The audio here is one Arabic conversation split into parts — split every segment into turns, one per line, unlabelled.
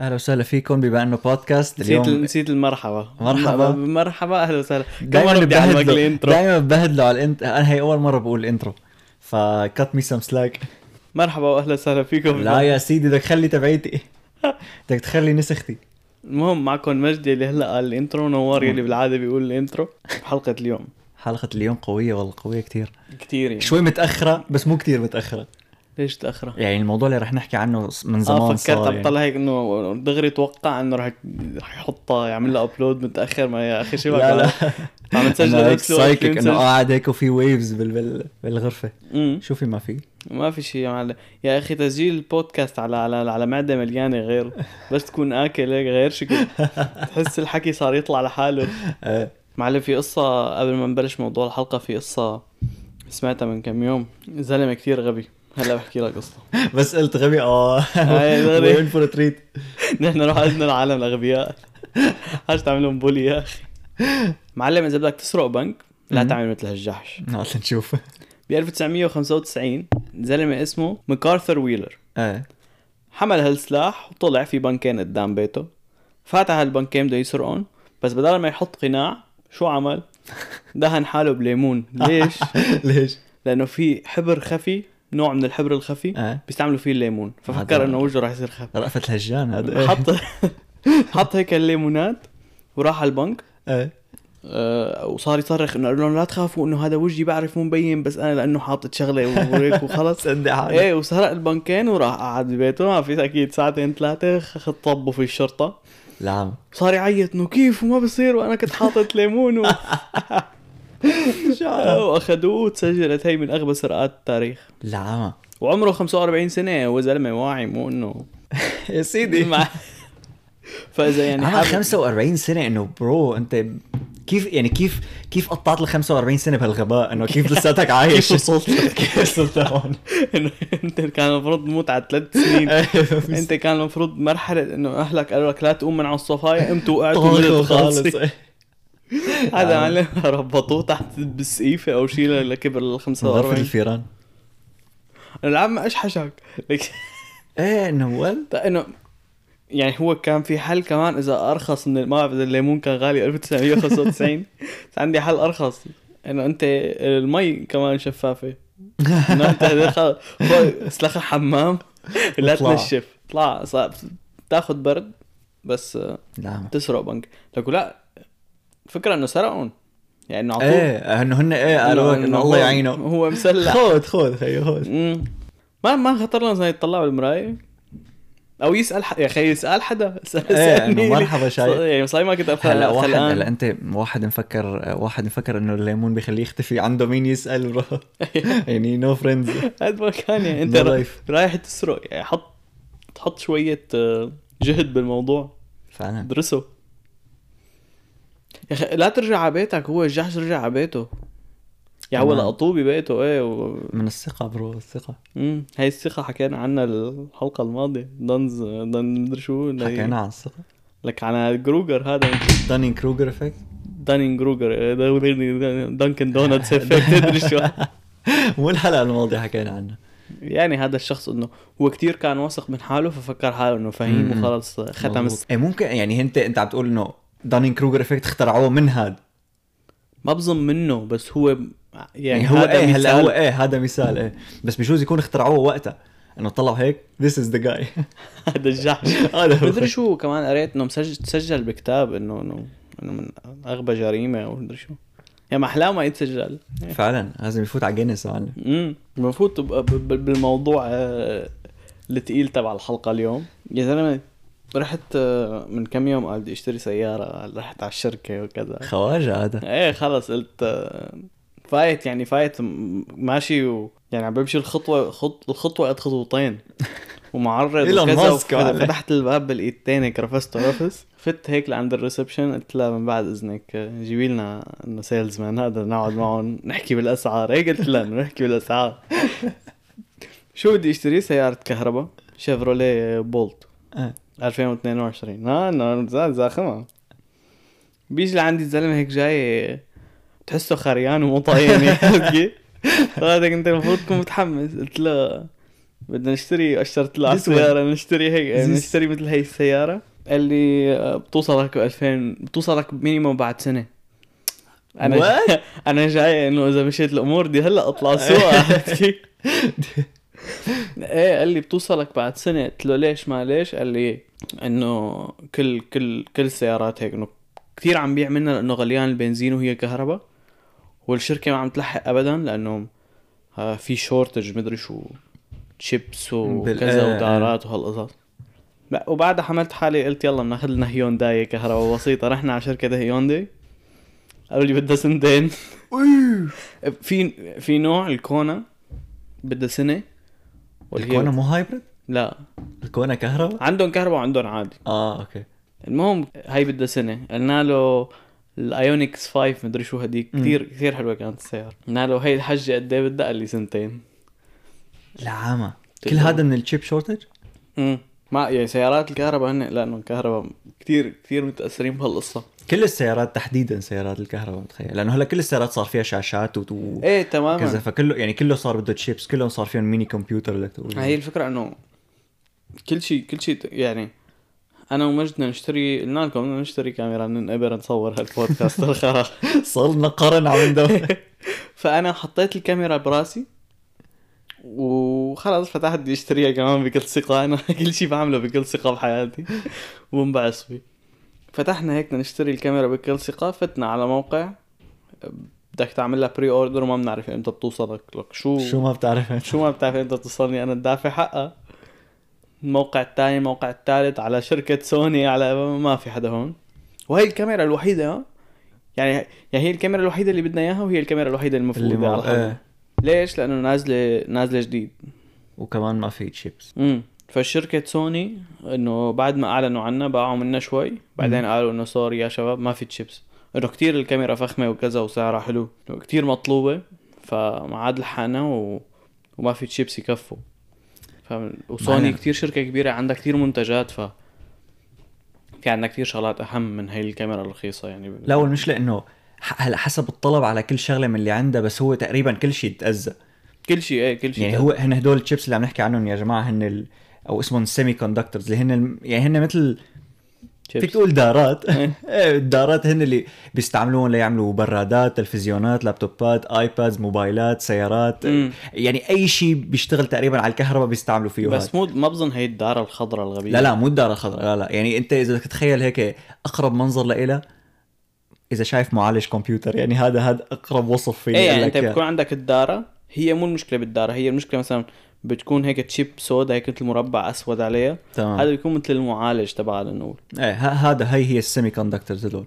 اهلا وسهلا فيكم بما انه بودكاست
نسيت
اليوم
نسيت المرحبا
مرحبا.
مرحبا اهلا وسهلا كم
دايما
مره بدي اعلمك
ببهدله
الانترو
دايما ببهدله على الانت انا هي اول مره بقول الانترو فكت مي سم سلاك
مرحبا واهلا وسهلا فيكم
لا يا سيدي بدك تخلي تبعيتي بدك تخلي نسختي
المهم معكم مجدي اللي هلا قال الانترو ونوار يلي بالعاده بيقول الانترو بحلقه اليوم
حلقة اليوم قوية والله قوية كتير
كثير يعني
شوي متأخرة بس مو كتير متأخرة
ليش تاخره؟
يعني الموضوع اللي رح نحكي عنه من زمان
اه فكرت
صار
عم
يعني.
طلع هيك انه دغري توقع انه رح رح يحطها يعمل لها ابلود متاخر ما يا اخي شو
لا لا
عم نسجل
أنا هيك
نفس الوقت
سايكك
بنسجل.
انه قاعد هيك وفي ويفز بال... بال... بالغرفة
أمم.
شوفي ما في
ما في شيء يا معلم يا اخي تسجيل بودكاست على على على معده مليانه غير بس تكون اكل هيك غير شكل تحس الحكي صار يطلع لحاله
آه.
معلم في قصة قبل ما نبلش موضوع الحلقة في قصة سمعتها من كم يوم زلمة كتير غبي هلا بحكي لك قصة
بس قلت غبي اه
هاي آه، غبي.
وين فور تريت
نحن روحنا العالم الاغبياء حاج تعملهم بولي يا اخي معلم اذا بدك تسرق بنك لا
مم.
تعمل مثل هالجحش
هلا نشوف
ب 1995 زلمة اسمه ماكارثر ويلر
ايه
حمل هالسلاح وطلع في بنكين قدام بيته فاتح هالبنكين بده يسرقهم بس بدل ما يحط قناع شو عمل؟ دهن حاله بليمون ليش؟
ليش؟
لانه في حبر خفي نوع من الحبر الخفي
ايه
بيستعملوا فيه الليمون
هذا-
ففكر انه وجهه رح يصير خفي
رأفت هجان هذا إيه.
حط حط هيك الليمونات وراح على البنك
ايه
آه، وصار يصرخ انه قال لهم لا تخافوا انه هذا وجهي بعرف مو مبين بس انا لانه حاطط شغله وهيك وخلص
صدق حالك
ايه وسرق البنكين وراح قعد ببيته ما في اكيد ساعتين ثلاثه خ- طبوا في الشرطه
لا عم.
صار يعيط انه كيف وما بصير وانا كنت حاطط ليمون و... واخذوه وتسجلت هي من اغبى سرقات التاريخ
لا عم.
وعمره 45 سنه هو زلمه واعي مو انه
يا سيدي
مع- فاذا يعني
عمر
حابب-
45 سنة انه برو انت كيف يعني كيف كيف قطعت ال 45 سنة بهالغباء انه كيف لساتك عايش
كيف وصلت؟
كيف وصلت لهون
إنه انت كان المفروض تموت على ثلاث سنين
انت
انت كان المفروض مرحله انه اهلك قالوا لك لا تقوم من على الصفايه قمت وقعت ومرت خالص
إيه.
هذا معلم ربطوه تحت بالسقيفه او شيء ل- لكبر ال
غرفة
45
الفيران
العم اشحشك لك
ايه انه ول
طيب انه يعني هو كان في حل كمان اذا ارخص من ما بعرف اذا الليمون كان غالي 1995 بس عندي حل ارخص انه انت المي كمان شفافه انه انت هذا خلص خذ اسلخ حمام لا
واطلع.
تنشف اطلع صعب تاخذ برد بس آه،
لا عم.
تسرق بنك لك لا الفكره انه سرقهم يعني انه عطوه
ايه انه هن ايه قالوا لك انه
هو-
الله يعينه
هو مسلح
خود خود خيو خود
مم. ما ما خطر لهم زي يطلعوا بالمرايه او يسال ح... يا اخي يسال حدا اسال
ايه
اسألني
انه
لي.
مرحبا
ص-
شايف
يعني صاير ما كنت افهم
هلا واحد
خلقان.
هلا انت واحد مفكر واحد مفكر انه الليمون بيخليه يختفي عنده مين يسال برو يعني نو فريندز
قد ما كان يعني انت
No
را-
life.
رايح تسرق يعني حط تحط شويه آه، جهد بالموضوع
فعلا
ادرسه يا اخي لا ترجع على بيتك هو الجحش رجع على بيته يا هو
تمام.
لقطوه ببيته ايه و...
من الثقه برو الثقه
مم. هاي الثقة حكينا عنها الحلقة الماضية دنز دن مدري شو اللي-
حكينا عن الثقه
لك عن جروجر هذا
دانين كروجر افكت
دانين جروجر دانكن دونتس تدري شو
مو الحلقه الماضيه حكينا عنها
يعني هذا الشخص انه هو كتير كان واثق من حاله ففكر حاله انه فهيم
مم.
وخلص ختم الس-
مزبوط. ايه ممكن يعني انت انت عم تقول انه دانين كروجر افكت اخترعوه من هاد
ما بظن منه بس هو يعني,
يعني هو ايه هلا هو
مثال.
ايه هذا مثال ايه بس بجوز يكون اخترعوه وقتها انه طلعوا هيك ذيس از ذا جاي
هذا الجحش
هذا هو.
مدري شو كمان قريت انه مسجل تسجل بكتاب انه انه انه من اغبى جريمه او مدري شو يعني يا ما احلاه ما يتسجل
فعلا لازم يفوت على جينيس يا معلم
امم المفروض تبقى ب- ب- بالموضوع آه، الثقيل تبع الحلقه اليوم يا زلمه رحت آه، من كم يوم قال بدي اشتري سياره رحت على الشركه وكذا
خواجه هذا
ايه خلص قلت آه، فايت يعني فايت م- ماشي و يعني عم بمشي الخطوه خط الخطوه قد خطوتين ومعرض
إيلون
وكذا
ماسك إيه؟ وعليه.
وف- فتحت الباب بالايد تاني كرفسته نفس فت هيك لعند الريسبشن قلت لها من بعد اذنك آه، جيبي لنا انه سيلز مان هذا نقعد معهم نحكي بالاسعار هيك قلت لها إنه نحكي بالاسعار شو بدي اشتري سياره كهرباء شيفروليه بولت
آه.
2022 ها انا زاخمه بيجي لعندي الزلمه هيك جاي تحسه خريان ومو طايقني عرفت كيف؟ هذاك انت المفروض تكون متحمس قلت له بدنا نشتري اشرت له على
This one.
السياره نشتري هيك
This-
نشتري مثل هي السياره قال لي آه، بتوصلك 2000 بتوصلك مينيموم بعد سنه انا
What?
انا جاي انه اذا مشيت الامور دي هلا اطلع سوا ايه قال لي بتوصلك بعد سنه قلت له ليش ما ليش قال لي انه كل كل كل السيارات هيك انه كثير عم بيع منها لانه غليان البنزين وهي كهرباء والشركه ما عم تلحق ابدا لانه آه، في شورتج مدري شو شيبس
بال- آه،
وكذا
آه.
ودارات وهالقصص لا، وبعدها حملت حالي قلت يلا بناخذ لنا هيونداي كهرباء بسيطه رحنا على شركه هيونداي قالوا لي بدها سنتين في في نوع الكونا بدها سنه والهيو-
الكونا مو هايبرد
لا
الكونا كهرباء
عندهم كهرباء وعندهم عادي
اه اوكي
المهم هاي بدها سنه قلنا له الايونكس 5 مدري شو هديك
مم.
كثير كثير حلوه كانت السياره قلنا له هي الحجه قد ايه بدها قال لي سنتين
العامة كل هذا من الشيب شورتج
امم ما يعني سيارات الكهرباء هن لانه الكهرباء كثير كثير متاثرين بهالقصه
كل السيارات تحديدا سيارات الكهرباء متخيل لانه هلا كل السيارات صار فيها شاشات وت- وكذا
ايه تماما
فكله يعني كله صار بده تشيبس كلهم صار فيهم ميني كمبيوتر لتقول
هي الفكره انه كل شيء كل شيء يعني انا ومجد بدنا نشتري قلنا لكم بدنا نشتري كاميرا ننقبر نصور هالبودكاست الخرا
صار لنا قرن عم ندور
فانا حطيت الكاميرا براسي وخلاص فتحت بدي اشتريها كمان بكل ثقه انا كل شيء بعمله بكل ثقه بحياتي ومنبعث فيه فتحنا هيك بدنا نشتري الكاميرا بكل ثقه فتنا على موقع بدك تعمل لها بري اوردر وما بنعرف امتى بتوصلك لك شو
شو ما بتعرف انت.
شو ما بتعرف امتى بتوصلني انا الدافع حقها الموقع الثاني الموقع الثالث على شركة سوني على ما في حدا هون وهي الكاميرا الوحيدة يعني يعني هي الكاميرا الوحيدة اللي بدنا اياها وهي الكاميرا الوحيدة
اللي
المفروضة على
ما
الحلبة.
ايه
ليش؟ لأنه نازلة نازلة جديد
وكمان ما في تشيبس
امم فشركة سوني انه بعد ما اعلنوا عنها باعوا منا شوي بعدين قالوا انه سوري يا شباب ما في تشيبس انه كتير الكاميرا فخمة وكذا وسعرها حلو إنه كتير مطلوبة فما عاد لحقنا و... وما في تشيبس يكفوا فاهم وسوني
معنا.
كتير شركة كبيرة عندها كتير منتجات ف في عندنا كتير شغلات اهم من هي الكاميرا الرخيصة يعني
لا والمشكله انه ح- هلا حسب الطلب على كل شغله من اللي عندها بس هو تقريبا كل شيء تأذى
كل شيء ايه كل شيء
يعني
تأذى.
هو هن هدول الشيبس اللي عم نحكي عنهم يا جماعه هن ال... او اسمهم سيمي كوندكتورز اللي هن الم- يعني هن مثل
chips.
فيك تقول دارات
إيه.
إيه، الدارات هن اللي بيستعملوهم ليعملوا برادات تلفزيونات لابتوبات ايبادز موبايلات سيارات
مم.
يعني اي شيء بيشتغل تقريبا على الكهرباء بيستعملوا فيه هاد.
بس مو ما بظن هي الدارة الخضراء الغبية
لا لا مو الدار الخضراء لا لا يعني انت اذا بدك تتخيل هيك اقرب منظر لإلها اذا شايف معالج كمبيوتر يعني هذا هذا اقرب وصف فيه
ايه
قال
يعني
لك
انت
إياه.
بيكون عندك الدارة هي مو المشكلة بالدارة هي المشكلة مثلا بتكون هيك تشيب سودا هيك مثل مربع اسود عليها
تمام
هذا بيكون مثل المعالج تبعها لنقول
ايه ه- هذا هي هي السيمي كوندكترز هدول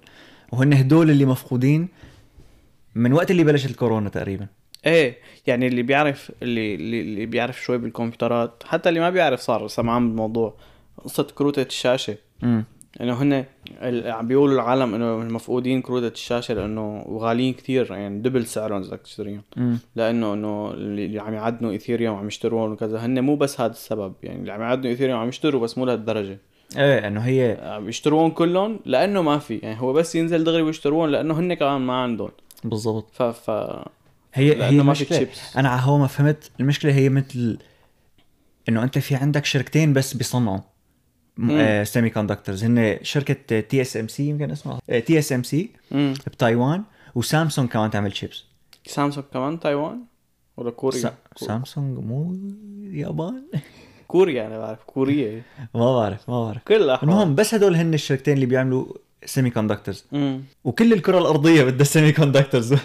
وهن هدول اللي مفقودين من وقت اللي بلشت الكورونا تقريبا
ايه يعني اللي بيعرف اللي اللي, اللي بيعرف شوي بالكمبيوترات حتى اللي ما بيعرف صار سمعان بالموضوع قصة كروتة الشاشة
امم
انه هن ال- عم بيقولوا العالم انه مفقودين كروتة الشاشة لانه وغاليين كثير يعني دبل سعرهم اذا بدك تشتريهم
امم
لانه انه اللي اللي عم يعدنوا ايثيريوم وعم يشتروهم وكذا هن مو بس هذا السبب يعني اللي عم يعدنوا ايثيريوم عم يشتروا بس مو لهالدرجه
ايه انه هي
عم يشتروهم كلهم لانه ما في يعني هو بس ينزل دغري ويشتروهم لانه هن كمان ما عندهم
بالضبط
ف ف
هي هي
لانه ما في
المشكله
تشيبس
انا على هو ما فهمت المشكله هي مثل انه انت في عندك شركتين بس بيصنعوا
مم.
سيمي كوندكترز هن شركه تي اس ام سي يمكن اسمها آه، تي اس ام سي
مم.
بتايوان وسامسونج كمان تعمل شيبس
سامسونج كمان تايوان ولا كوريا كو-
سامسونج مو يابان
كوريا انا بعرف كوريا
ما بعرف ما بعرف
كلها حرام.
المهم بس هدول هن الشركتين اللي بيعملوا سيمي كوندكترز
مم.
وكل الكره الارضيه بدها سيمي كوندكترز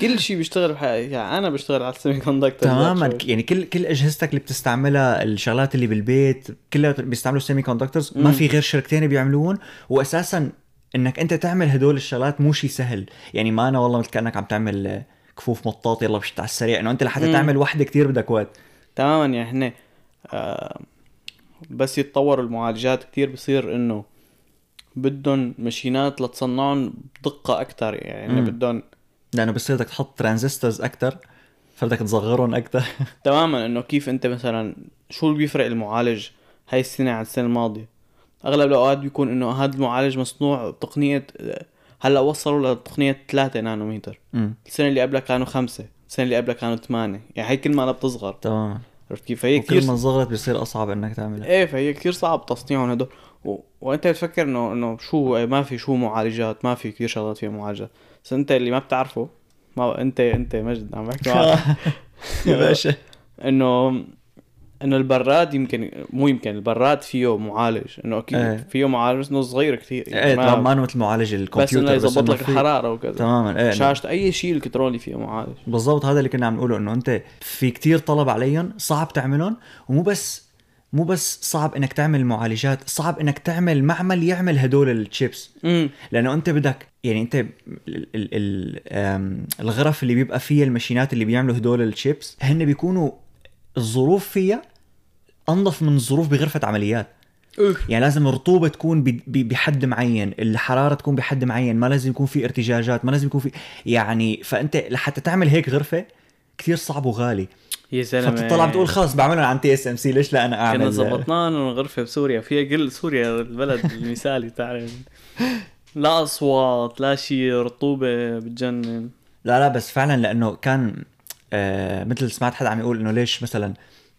كل شيء بيشتغل بحياتي يعني انا بشتغل على السيمي كوندكتر
تماما يعني كل كل اجهزتك اللي بتستعملها الشغلات اللي بالبيت كلها بيستعملوا سيمي كوندكترز ما
مم.
في غير شركتين بيعملوهم واساسا انك انت تعمل هدول الشغلات مو شيء سهل يعني ما انا والله مثل كانك عم تعمل آه، كفوف مطاط يلا مشت على السريع انه انت لحتى
مم.
تعمل وحده كتير بدك وقت
تماما يعني احنا آه بس يتطوروا المعالجات كتير بصير انه بدهم ماشينات لتصنعهم بدقة أكتر يعني
مم.
بدهم
لانه بصير بدك تحط ترانزستورز اكثر فبدك تصغرهم اكثر
تماما انه كيف انت مثلا شو اللي بيفرق المعالج هاي السنة عن السنة الماضية اغلب الاوقات بيكون انه هذا المعالج مصنوع بتقنية هلا وصلوا لتقنية 3 نانومتر
مم.
السنة اللي قبلها كانوا خمسة السنة اللي قبلها كانوا ثمانية يعني هي كل ما انا بتصغر
تماما
عرفت كيف فهي كثير
وكل ما صغرت بيصير اصعب انك تعملها
ايه فهي كثير صعب تصنيعهم هدول و... وانت بتفكر انه انه شو إيه ما في شو معالجات ما في كثير شغلات فيها معالجات بس انت اللي ما بتعرفه ما انت انت مجد عم بحكي معك
يا باشا
انه انه البراد يمكن مو يمكن البراد فيه معالج انه اكيد
إيه.
فيه معالج بس انه صغير كثير
ايه
ما-
طبعا ما أنا مثل معالج
بس
الكمبيوتر
انه يظبط
إنه
لك
في-
الحراره وكذا
تماما ايه إنه-
شاشة اي شيء الكتروني فيه معالج
بالضبط هذا اللي كنا عم نقوله انه انت في كتير طلب عليهم صعب تعملهم ومو بس مو بس صعب انك تعمل معالجات صعب انك تعمل معمل يعمل هدول الشيبس
امم
لانه انت بدك يعني انت ال ال ال آم، الغرف اللي بيبقى فيها الماشينات اللي بيعملوا هدول الشيبس هن بيكونوا الظروف فيها انظف من الظروف بغرفه عمليات يعني لازم الرطوبه تكون ب- ب- بحد معين الحراره تكون بحد معين ما لازم يكون في ارتجاجات ما لازم يكون في يعني فانت لحتى تعمل هيك غرفه كثير صعب وغالي
يا زلمه
فبتطلع بتقول خلص بعملها عن تي اس ام سي ليش لا انا اعمل
كنا ظبطناه انه غرفه بسوريا فيها كل سوريا البلد المثالي تعرف لا اصوات لا شيء رطوبه بتجنن
لا لا بس فعلا لانه كان آه مثل سمعت حدا عم يقول انه ليش مثلا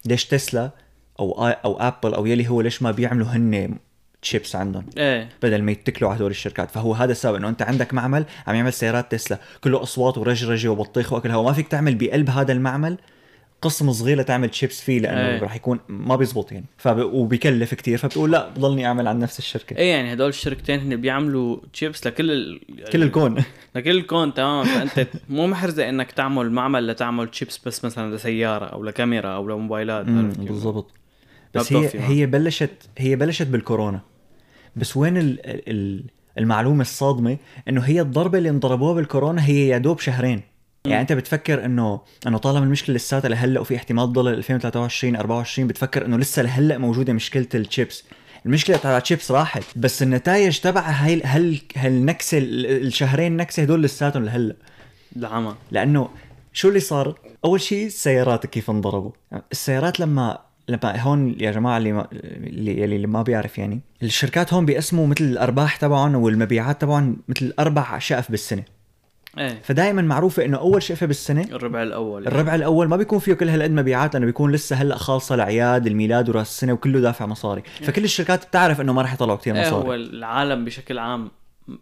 ليش تسلا او آي- او ابل او يلي هو ليش ما بيعملوا هن تشيبس عندهم
ايه
بدل ما يتكلوا على هدول الشركات فهو هذا السبب انه انت عندك معمل عم يعمل سيارات تسلا كله اصوات ورجرجه وبطيخ واكل هوا ما فيك تعمل بقلب هذا المعمل قسم صغير لتعمل تشيبس فيه لانه
إيه.
رح يكون ما بيزبط يعني فب... وبيكلف كتير فبتقول لا بضلني اعمل عن نفس الشركه
ايه يعني هدول الشركتين هن بيعملوا تشيبس لكل ال...
كل الكون
لكل الكون تماما فانت مو محرزه انك تعمل معمل لتعمل تشيبس بس مثلا لسياره او لكاميرا او لموبايلات عرفت كيف؟
بالضبط
ما
بس هي
بتوفي معها.
هي بلشت هي بلشت بالكورونا بس وين ال... ال... المعلومه الصادمه انه هي الضربه اللي انضربوها بالكورونا هي يا دوب شهرين يعني انت بتفكر انه انه طالما المشكله لساتها لهلا وفي احتمال تضل 2023 24 بتفكر انه لسه لهلا موجوده مشكله الشيبس المشكله تبع الشيبس راحت بس النتائج تبع هاي هال هالنكسه ال- الشهرين نكسه هدول لساتهم لهلا
العمى
لانه شو اللي صار؟ اول شيء السيارات كيف انضربوا، السيارات لما لما هون يا جماعه اللي ما اللي, اللي ما بيعرف يعني، الشركات هون بيقسموا مثل الارباح تبعهم والمبيعات تبعهم مثل اربع شقف بالسنه،
ايه
فدائما معروفه انه اول شقفه بالسنه
الربع الاول
الربع الاول ما بيكون فيه كل هالقد مبيعات لانه بيكون لسه هلا خالصه العياد الميلاد وراس السنه وكله دافع مصاري، فكل الشركات بتعرف انه ما رح يطلعوا كثير
ايه هو
مصاري.
العالم بشكل عام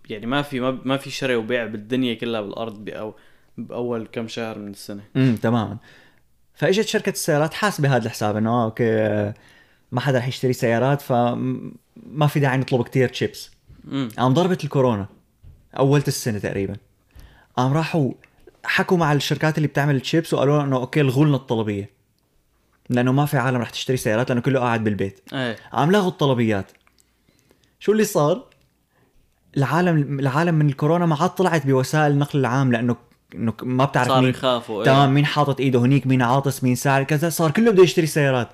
يعني ما في ما- ما في شراء وبيع بالدنيا كلها بالارض بأو باول كم شهر من السنه
امم تماما فاجت شركه السيارات حاسبه هذا الحساب انه آه، اوكي آه، ما حدا رح يشتري سيارات فما في داعي نطلب كتير تشيبس
امم
قام ضربت الكورونا اولت السنه تقريبا قام راحوا حكوا مع الشركات اللي بتعمل تشيبس وقالوا لهم انه اوكي الغوا لنا الطلبيه لانه ما في عالم رح تشتري سيارات لانه كله قاعد بالبيت
ايه
عم لغوا الطلبيات شو اللي صار العالم العالم من الكورونا ما عاد طلعت بوسائل النقل العام لانه انه ما بتعرف
صاروا
مين
يخافوا إيه.
تمام مين حاطط ايده هنيك مين عاطس مين ساعد كذا صار كله بده يشتري سيارات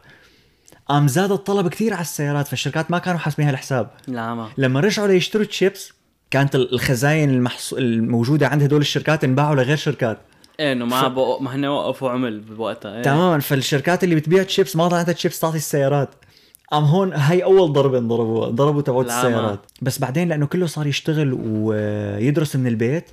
قام زاد الطلب كثير على السيارات فالشركات ما كانوا حاسبين هالحساب
العمى
لما رجعوا ليشتروا تشيبس كانت ال- الخزاين المحص... الموجوده عند هدول الشركات انباعوا لغير شركات
ايه انه ما بق... ما هن وقفوا عمل بوقتها ايه
تماما فالشركات اللي بتبيع تشيبس ما ضل عندها تشيبس تعطي السيارات قام هون هاي اول ضربه انضربوها ضربوا تبعوت
العمى.
السيارات بس بعدين لانه كله صار يشتغل ويدرس من البيت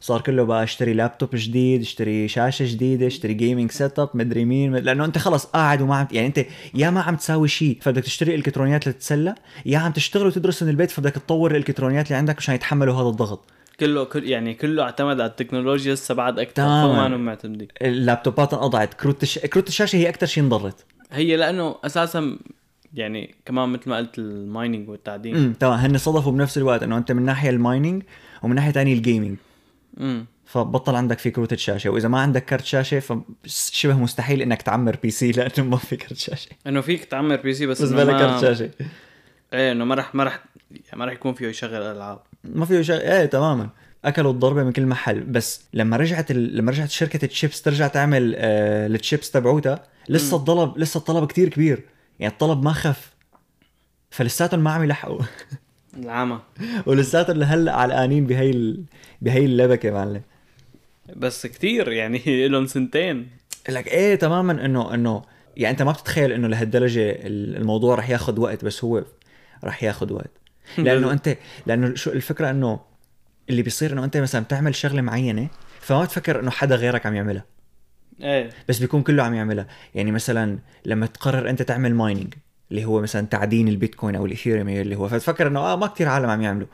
صار كله بقى اشتري لابتوب جديد اشتري شاشه جديده اشتري جيمنج سيت اب مدري مين مد- لانه انت خلص قاعد وما عم يعني انت يا ما عم تساوي شيء فبدك تشتري الكترونيات لتتسلى يا عم تشتغل وتدرس من البيت فبدك تطور الالكترونيات اللي عندك مشان يتحملوا هذا الضغط
كله كل يعني كله اعتمد على التكنولوجيا لسه بعد اكثر
تماماً.
فما انهم معتمدين
اللابتوبات انقطعت كروت الش... كروت الشاشه هي اكثر شيء انضرت
هي لانه اساسا يعني كمان مثل ما قلت المايننج والتعدين
امم تمام هن صدفوا بنفس الوقت انه انت من ناحيه المايننج ومن ناحيه تانية الجيمنج
امم
فبطل عندك في كروت شاشه واذا ما عندك كرت شاشه فشبه مستحيل انك تعمر بي سي لانه ما في كرت شاشه
انه فيك تعمر بي سي بس
بس
إنه
بلا
ما-
كرت شاشه
ايه انه ما رح ما رح يعني ما رح يكون فيه يشغل العاب
ما في شيء ايه تماما اكلوا الضربه من كل محل بس لما رجعت ال... لما رجعت شركه الشيبس ترجع تعمل آه... التشيبس تبعوتها لسه الطلب لسه الطلب كتير كبير يعني الطلب ما خف فلساتهم ما عم يلحقوا
العمى
ولساتهم لهلا علقانين بهي ال... بهي اللبكه معلم
بس كتير يعني لهم سنتين
لك ايه تماما انه انه يعني انت ما بتتخيل انه لهالدرجه ال- الموضوع رح ياخذ وقت بس هو رح ياخذ وقت لانه انت لانه شو الفكره انه اللي بيصير انه انت مثلا بتعمل شغله معينه فما تفكر انه حدا غيرك عم يعملها
ايه
بس بيكون كله عم يعملها يعني مثلا لما تقرر انت تعمل مايننج اللي هو مثلا تعدين البيتكوين او الاثيريوم اللي هو فتفكر انه اه ما كتير عالم عم يعملوا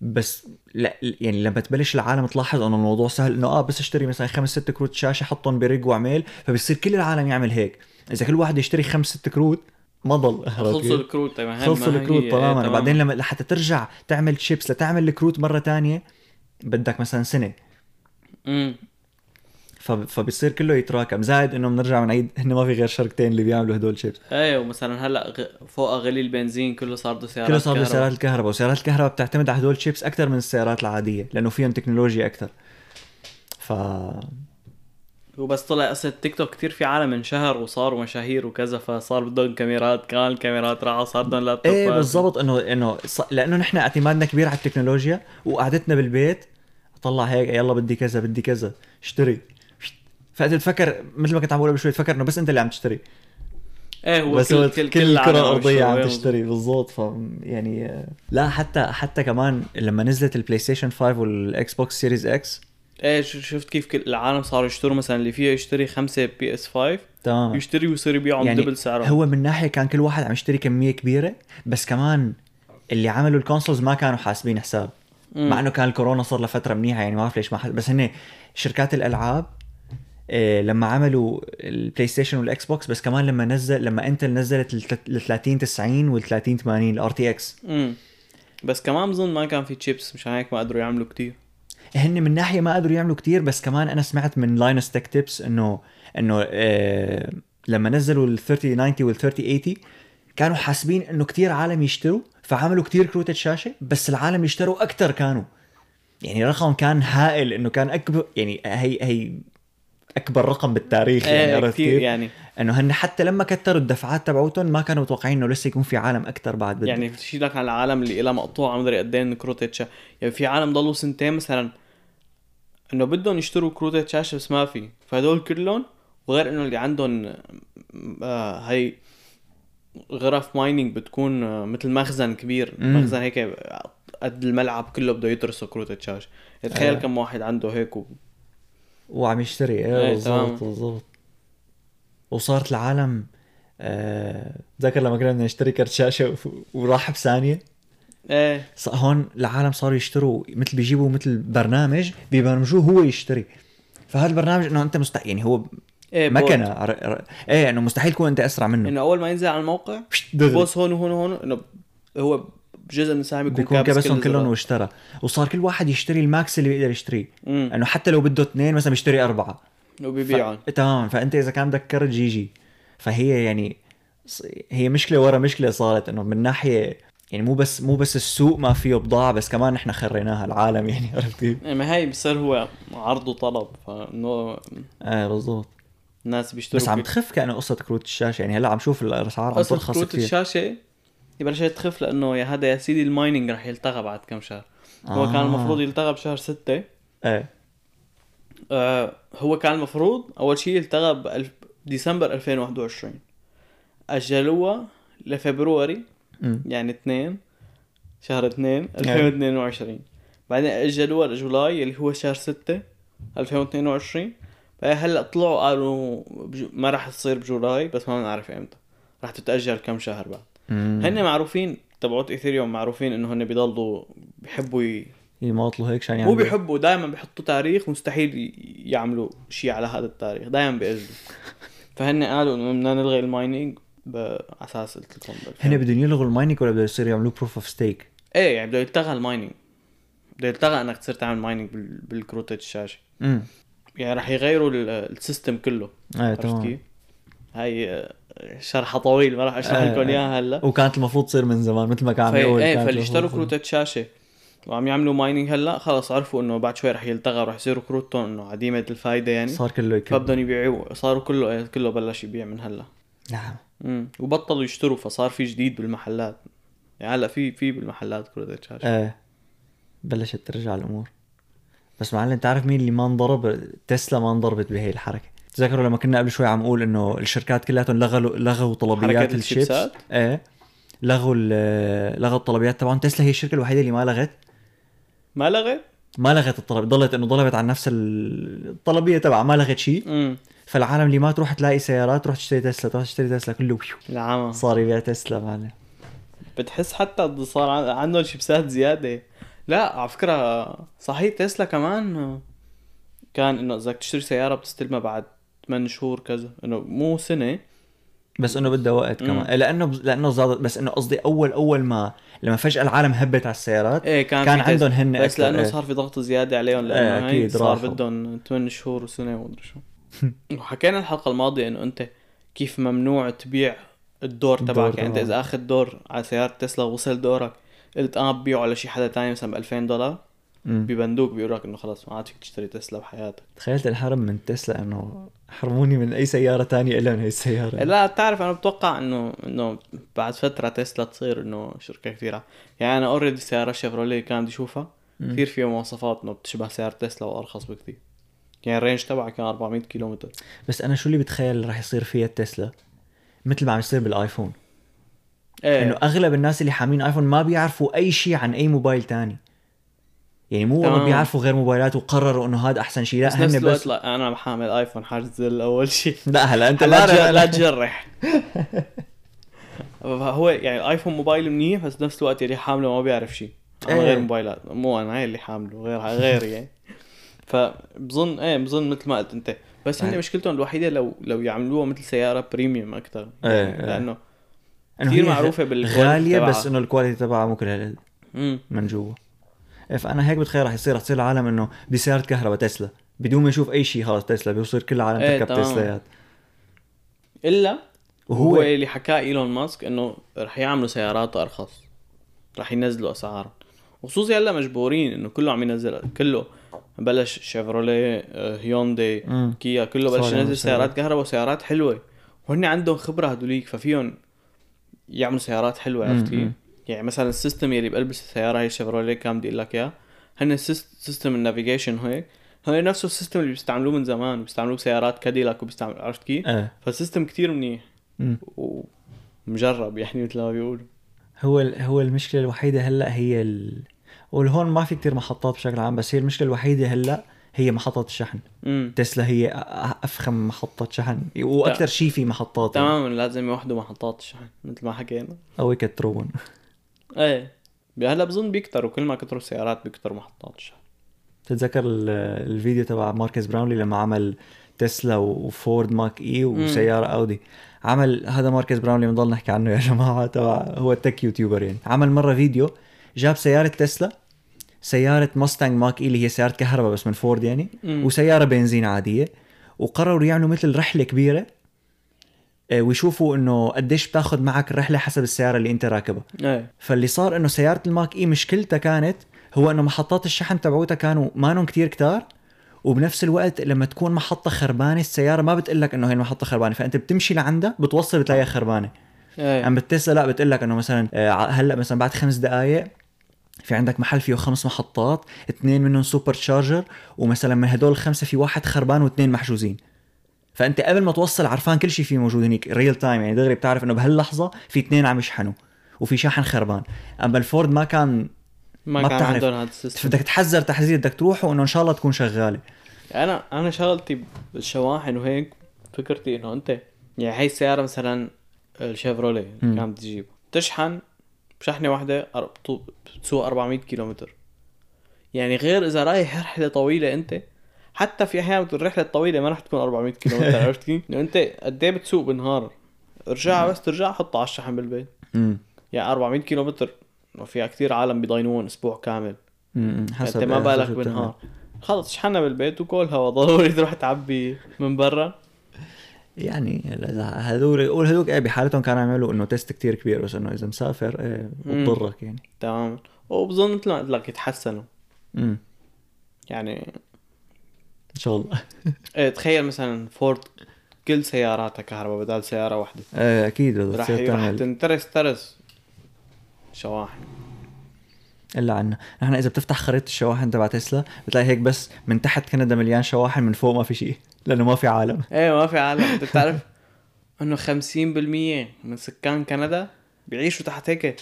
بس لا يعني لما تبلش العالم تلاحظ انه الموضوع سهل انه اه بس اشتري مثلا خمس ست كروت شاشه حطهم برج واعمل فبصير كل العالم يعمل هيك اذا كل واحد يشتري خمس ست كروت ما ضل
خلصوا الكروت طيب، تمام
خلصوا الكروت تماما بعدين لما لحتى ترجع تعمل تشيبس لتعمل الكروت مره تانية بدك مثلا سنه
لما
فب... فبصير كله يتراكم زائد انه بنرجع بنعيد هن ما في غير شركتين اللي بيعملوا هدول شيبس
ايه ومثلا هلا غ... فوق غلي البنزين كله صار بده سيارات
كله صار
كهرباء.
بسيارات الكهرباء وسيارات الكهرباء بتعتمد على هدول شيبس اكثر من السيارات العاديه لانه فيهم تكنولوجيا اكثر ف
وبس طلع قصه تيك توك كثير في عالم انشهر وصاروا مشاهير وكذا فصار بدهم كاميرات كان الكاميرات راحوا صار بدهم لابتوبات
ايه بالضبط انه انه ص- لانه نحن اعتمادنا كبير على التكنولوجيا وقعدتنا بالبيت طلع هيك يلا بدي كذا بدي كذا اشتري فانت تفكر مثل ما كنت عم بقول قبل شوي تفكر انه بس انت اللي عم تشتري
ايه هو
بس
كل كل, كل
الكره
العالم عم
الارضيه
يشتغل،
عم
إيه،
تشتري بالضبط ف يعني آه، لا حتى حتى كمان لما نزلت البلاي ستيشن 5 والاكس بوكس سيريز اكس
ايه ش- شفت كيف كل العالم صاروا يشتروا مثلا اللي فيه يشتري خمسه بي اس 5
تمام
يشتري ويصير يبيعهم
آه. يعني
يعني دبل سعرهم
هو من ناحيه كان كل واحد عم يشتري كميه كبيره بس كمان اللي عملوا الكونسولز ما كانوا حاسبين حساب
مم.
مع انه كان الكورونا صار لفتره منيحه يعني ما بعرف ليش ما حد بس هن شركات الالعاب آه، لما عملوا البلاي ستيشن والاكس بوكس بس كمان لما نزل لما انتل نزلت ال 30 90 وال 30 80 الار تي اكس
مم. بس كمان بظن ما كان في تشيبس مشان هيك ما قدروا يعملوا كتير
هن من ناحيه ما قدروا يعملوا كتير بس كمان انا سمعت من لاينس تك تيبس انه انه آه لما نزلوا ال 3090 وال 3080 كانوا حاسبين انه كتير عالم يشتروا فعملوا كتير كروت شاشه بس العالم يشتروا اكثر كانوا يعني رقم كان هائل انه كان اكبر يعني هي هي اكبر رقم بالتاريخ يعني
ايه
عرفت
كتير
كيف؟
يعني
انه هن حتى لما كتروا الدفعات تبعوتهم ما كانوا متوقعين انه لسه يكون في عالم اكثر بعد بده.
يعني بتشيل لك على العالم اللي لها مقطوعه ما ادري قد ايه إن كروت شاشه يعني في عالم ضلوا سنتين مثلا انه بدهم يشتروا كروت شاشه بس ما في فهدول كلهم وغير انه اللي عندهم آه هي غرف مايننج بتكون آه، مثل مخزن كبير
مم.
مخزن هيك قد الملعب كله بده يترسوا كروت شاشه تخيل
آه.
كم واحد عنده هيك و...
وعم يشتري
إيه،
ايه بالضبط
تمام.
بالضبط وصارت العالم آه، تذكر لما كنا بدنا نشتري كرت شاشه و- وراح بثانيه
ايه
ص- هون العالم صاروا يشتروا مثل بيجيبوا مثل برنامج بيبرمجوه هو يشتري فهذا البرنامج انه انت مستحيل يعني هو
ايه بوت.
مكنه عر- عر- ايه انه مستحيل تكون انت اسرع منه
انه اول ما ينزل على الموقع
دغري
بوس هون وهون وهون انه هو جزء من سهم يكون
بيكون كبسهم
كل
كلهم
الزرار.
واشترى وصار كل واحد يشتري الماكس اللي بيقدر يشتريه
مم.
انه حتى لو بده اثنين مثلا بيشتري اربعه
وبيبيعهم
ف... تمام فانت اذا كان بدك كرت جي جي فهي يعني ص- هي مشكله ورا مشكله صارت انه من ناحيه يعني مو بس مو بس السوق ما فيه بضاعه بس كمان نحن خريناها العالم يعني عرفت كيف؟
يعني ما هي بصير هو عرض وطلب فانه آه،
ايه بالضبط
الناس بيشتروا
بس عم تخف كانه قصه كروت الشاشه يعني هلا عم شوف الاسعار عم
اصلا
ترخص
كروت
كثير
الشاشه بلشت تخف لانه يا هذا يا سيدي المايننج رح يلتغى بعد كم شهر هو
آه.
كان المفروض يلتغى بشهر ستة
ايه
آه هو كان المفروض اول شيء يلتغى بألف... ديسمبر 2021 اجلوها لفبروري
أمم.
يعني اثنين شهر اثنين 2022 بعدين اجلوها لجولاي اللي هو شهر 6 2022 بعدين هلا طلعوا قالوا بجو... ما راح تصير بجولاي بس ما بنعرف امتى راح تتاجل كم شهر بعد
أمم.
هن معروفين تبعوت ايثيريوم معروفين انه هن بيضلوا بيحبوا ي...
يماطلوا هيك عشان
مو
يعملوا
بيحبوا دائما بيحطوا تاريخ مستحيل ي- يعملوا شيء على هذا التاريخ دائما بيأجلوا فهن قالوا انه بدنا نلغي المايننج ب... على اساس قلت لكم بال-
هن بدهم يلغوا المايننج ولا بدهم يصيروا يعملوا بروف اوف ستيك؟
ايه يعني بده يلتغى المايننج بده يلتغى انك تصير تعمل مايننج بال... بالكروت الشاشه
امم
يعني راح يغيروا ال- السيستم كله
ايه
عرفت
تمام
كيف؟ هاي آه، شرحها طويل ما راح اشرح
آه،
لكم
آه.
اياها هلا
وكانت المفروض تصير من زمان مثل ما كان عم
فهي-
يقول
ايه
كانت
فاللي
المفروض
اشتروا
تصير.
كروتة شاشة وعم يعملوا مايننج هلا خلص عرفوا انه بعد شوي رح يلتغى ورح يصيروا كروتهم انه عديمة الفايدة يعني
صار كله يكب
فبدهم يبيعوا صاروا كله إيه، كله بلش يبيع من هلا
نعم
امم وبطلوا يشتروا فصار في جديد بالمحلات يعني هلا في في بالمحلات كروتة شاشة
ايه بلشت ترجع الامور بس معلم انت عارف مين اللي ما انضرب تسلا ما انضربت بهي الحركه تذكروا لما كنا قبل شوي عم نقول انه الشركات كلياتهم لغوا لغوا طلبيات
حركة
الشيبس
الشيبسات؟
ايه لغوا ال- لغوا الطلبيات تبعهم تسلا هي الشركه الوحيده اللي ما لغت
ما لغت؟
ما لغت الطلب ضلت انه ضلبت على نفس ال- الطلبيه تبعها ما لغت شيء
امم
فالعالم اللي ما تروح تلاقي سيارات تروح تشتري تسلا تروح تشتري تسلا كله بيو.
العمى
صار يبيع تسلا معنا
بتحس حتى صار عن- عنده شيبسات زياده لا على فكره صحيح تسلا كمان كان انه اذا بدك تشتري سياره بتستلمها بعد 8 شهور كذا انه مو سنه
بس انه بده وقت
مم.
كمان لانه لانه زادت بس انه قصدي اول اول ما لما فجاه العالم هبت على السيارات
ايه كان
كان
في تسلا.
عندهم هن
بس
أكثر،
لانه
إيه.
صار في ضغط زياده عليهم
إيه،
لانه هي
أكيد
صار
راحوا.
بدهم 8 شهور وسنه ومدري شو وحكينا الحلقه الماضيه انه انت كيف ممنوع تبيع الدور
الدور
تبعك يعني انت
تبعك.
اذا اخذ دور على سياره تسلا ووصل دورك قلت اه ببيعه لشي حدا تاني مثلا ب 2000 دولار
مم.
ببندوق بيقول لك انه خلاص ما عاد فيك تشتري تسلا بحياتك
تخيلت الحرم من تسلا انه حرموني من اي سياره تانية الا من هي السياره
لا بتعرف انا بتوقع انه انه بعد فتره تسلا تصير انه شركه كثير ع- يعني انا اوريدي سياره شيفروليه كان بدي اشوفها
مم.
كثير فيها مواصفات انه بتشبه سياره تسلا وارخص بكثير يعني الرينج تبعها كان 400 كيلومتر
بس انا شو اللي بتخيل راح يصير فيها التسلا مثل ما عم يصير بالايفون
ايه
انه
انه
اغلب الناس اللي حاملين ايفون ما بيعرفوا اي شيء عن اي موبايل تاني يعني مو
تمام.
والله بيعرفوا غير موبايلات وقرروا انه هذا احسن شيء
آه. بس
لا
نفس
هن
الوقت
بس
لا انا محامل ايفون حاجز اول شيء
لا هلا انت
لا تجر- لا
لا
تجرح هو يعني الايفون موبايل منيح بس نفس الوقت اللي حامله ما بيعرف شيء انا
إيه.
غير موبايلات مو انا هاي اللي حامله غير غيري يعني فبظن ايه بظن مثل ما قلت انت بس هن
إيه.
مشكلتهم الوحيده لو لو يعملوها مثل سياره بريميوم اكثر
إيه،
يعني
إيه.
لانه
إنه
كثير
هي
معروفة بالquality
غاليه
تبعها.
بس انه الكواليتي تبعها مو كلها
امم
من جوا إيه، فانا هيك بتخيل رح يصير رح تصير العالم انه بدي سياره كهرباء تسلا بدون ما يشوف اي شيء خلاص تسلا بيصير كل العالم
إيه،
تركب
تمام.
تسلايات
الا
وهو-
وهو هو إيه. اللي حكاه ايلون ماسك انه رح يعملوا سيارات ارخص رح ينزلوا اسعار خصوصي هلا مجبورين انه كله عم ينزل كله بلش شيفروليه آه، هيونداي
مم.
كيا كله
صار
بلش
يعملوا
ينزل سيارات كهرباء وسيارات حلوه وهن عندهم خبره هدوليك ففيهم يعملوا سيارات حلوه
مم،
عرفت كيف؟
مم.
يعني مثلا السيستم يلي بقلب السياره هي الشيفروليه كان بدي اقول لك اياه هن السيس- سيستم النافيجيشن هيك هو نفسه السيستم اللي بيستعملوه من زمان بيستعملوه بسيارات كاديلاك وبيستعمل عرفت كيف؟
إيه.
فالسيستم كتير منيح
مم.
ومجرب يعني مثل ما بيقولوا
هو ال- هو المشكله الوحيده هلا هي ال... والهون ما في كتير محطات بشكل عام بس هي المشكله الوحيده هلا هي محطات الشحن
امم
تسلا هي أ- أ- افخم محطه شحن واكثر شيء في محطات
تماما لازم يوحدوا محطات الشحن مثل ما حكينا
او يكترون
ايه هلا بظن بيكتروا كل ما كتروا السيارات بيكتروا محطات الشحن
تتذكر ال- الفيديو تبع ماركس براونلي لما عمل تسلا وفورد ماك اي وسياره اودي عمل هذا ماركس براونلي بنضل نحكي عنه يا جماعه تبع هو التك يوتيوبر يعني عمل مره فيديو جاب سياره تسلا سياره ماستانج ماك اي اللي هي سياره كهرباء بس من فورد يعني
مم.
وسياره بنزين عاديه وقرروا يعملوا مثل رحله كبيره آه، ويشوفوا انه قديش بتاخذ معك الرحله حسب السياره اللي انت راكبها
ايه
فاللي صار انه سياره الماك اي مشكلتها كانت هو انه محطات الشحن تبعوتها كانوا مانن كتير كتار وبنفس الوقت لما تكون محطه خربانه السياره ما بتقلك انه هي المحطه خربانه فانت بتمشي لعندها بتوصل بتلاقيها خربانه
ايه
عم بالتسلا لا بتقلك انه مثلا آه، ع- هلا مثلا بعد خمس دقائق في عندك محل فيه خمس محطات اثنين منهم سوبر تشارجر ومثلا من هدول الخمسه في واحد خربان واثنين محجوزين فانت قبل ما توصل عرفان كل شيء فيه موجود هنيك ريل تايم يعني دغري بتعرف انه بهاللحظه في اثنين عم يشحنوا وفي شاحن خربان اما الفورد ما كان
ما,
ما
كان
بتعرف.
عندهم هذا السيستم
بدك تحذر تحذير بدك تروح وانه ان شاء الله تكون شغاله
انا انا شغلتي بالشواحن وهيك فكرتي انه انت يعني هاي السياره مثلا الشيفروليه
مم.
كانت تجيب تشحن بشحنه واحده أر- بتو- بتسوق 400 كيلومتر يعني غير اذا رايح رحله طويله انت حتى في احيان بت- الرحله الطويله ما رح تكون 400 كيلومتر عرفت كيف؟ لانه انت قد ايه بتسوق بالنهار ارجع بس ترجع حطها على الشحن بالبيت
امم
يعني 400 كيلومتر فيها كثير عالم بيضاينون اسبوع كامل
امم حسب
انت ما
آه،
بالك
حسب شو بتعمل.
بالنهار خلص شحنها بالبيت وكل هوا ضروري تروح تعبي من برا
يعني لا- هذول يقول هذول إيه بحالتهم كانوا يعملوا انه تيست كتير كبير بس انه اذا مسافر إيه
مم.
بتضرك يعني
تمام وبظن مثل ما قلت لك يتحسنوا
امم
يعني
ان شاء الله
ايه تخيل مثلا فورد كل سياراتها كهرباء بدل سياره واحده
ايه اكيد بدها
راح
تصير
راح
تعمل
تنترس ترس شواحن
الا عنا نحن اذا بتفتح خريطه الشواحن تبع تسلا بتلاقي هيك بس من تحت كندا مليان شواحن من فوق ما في شيء لانه ما في عالم
ايه ما في عالم انت بتعرف انه 50% من سكان كندا بيعيشوا تحت هيك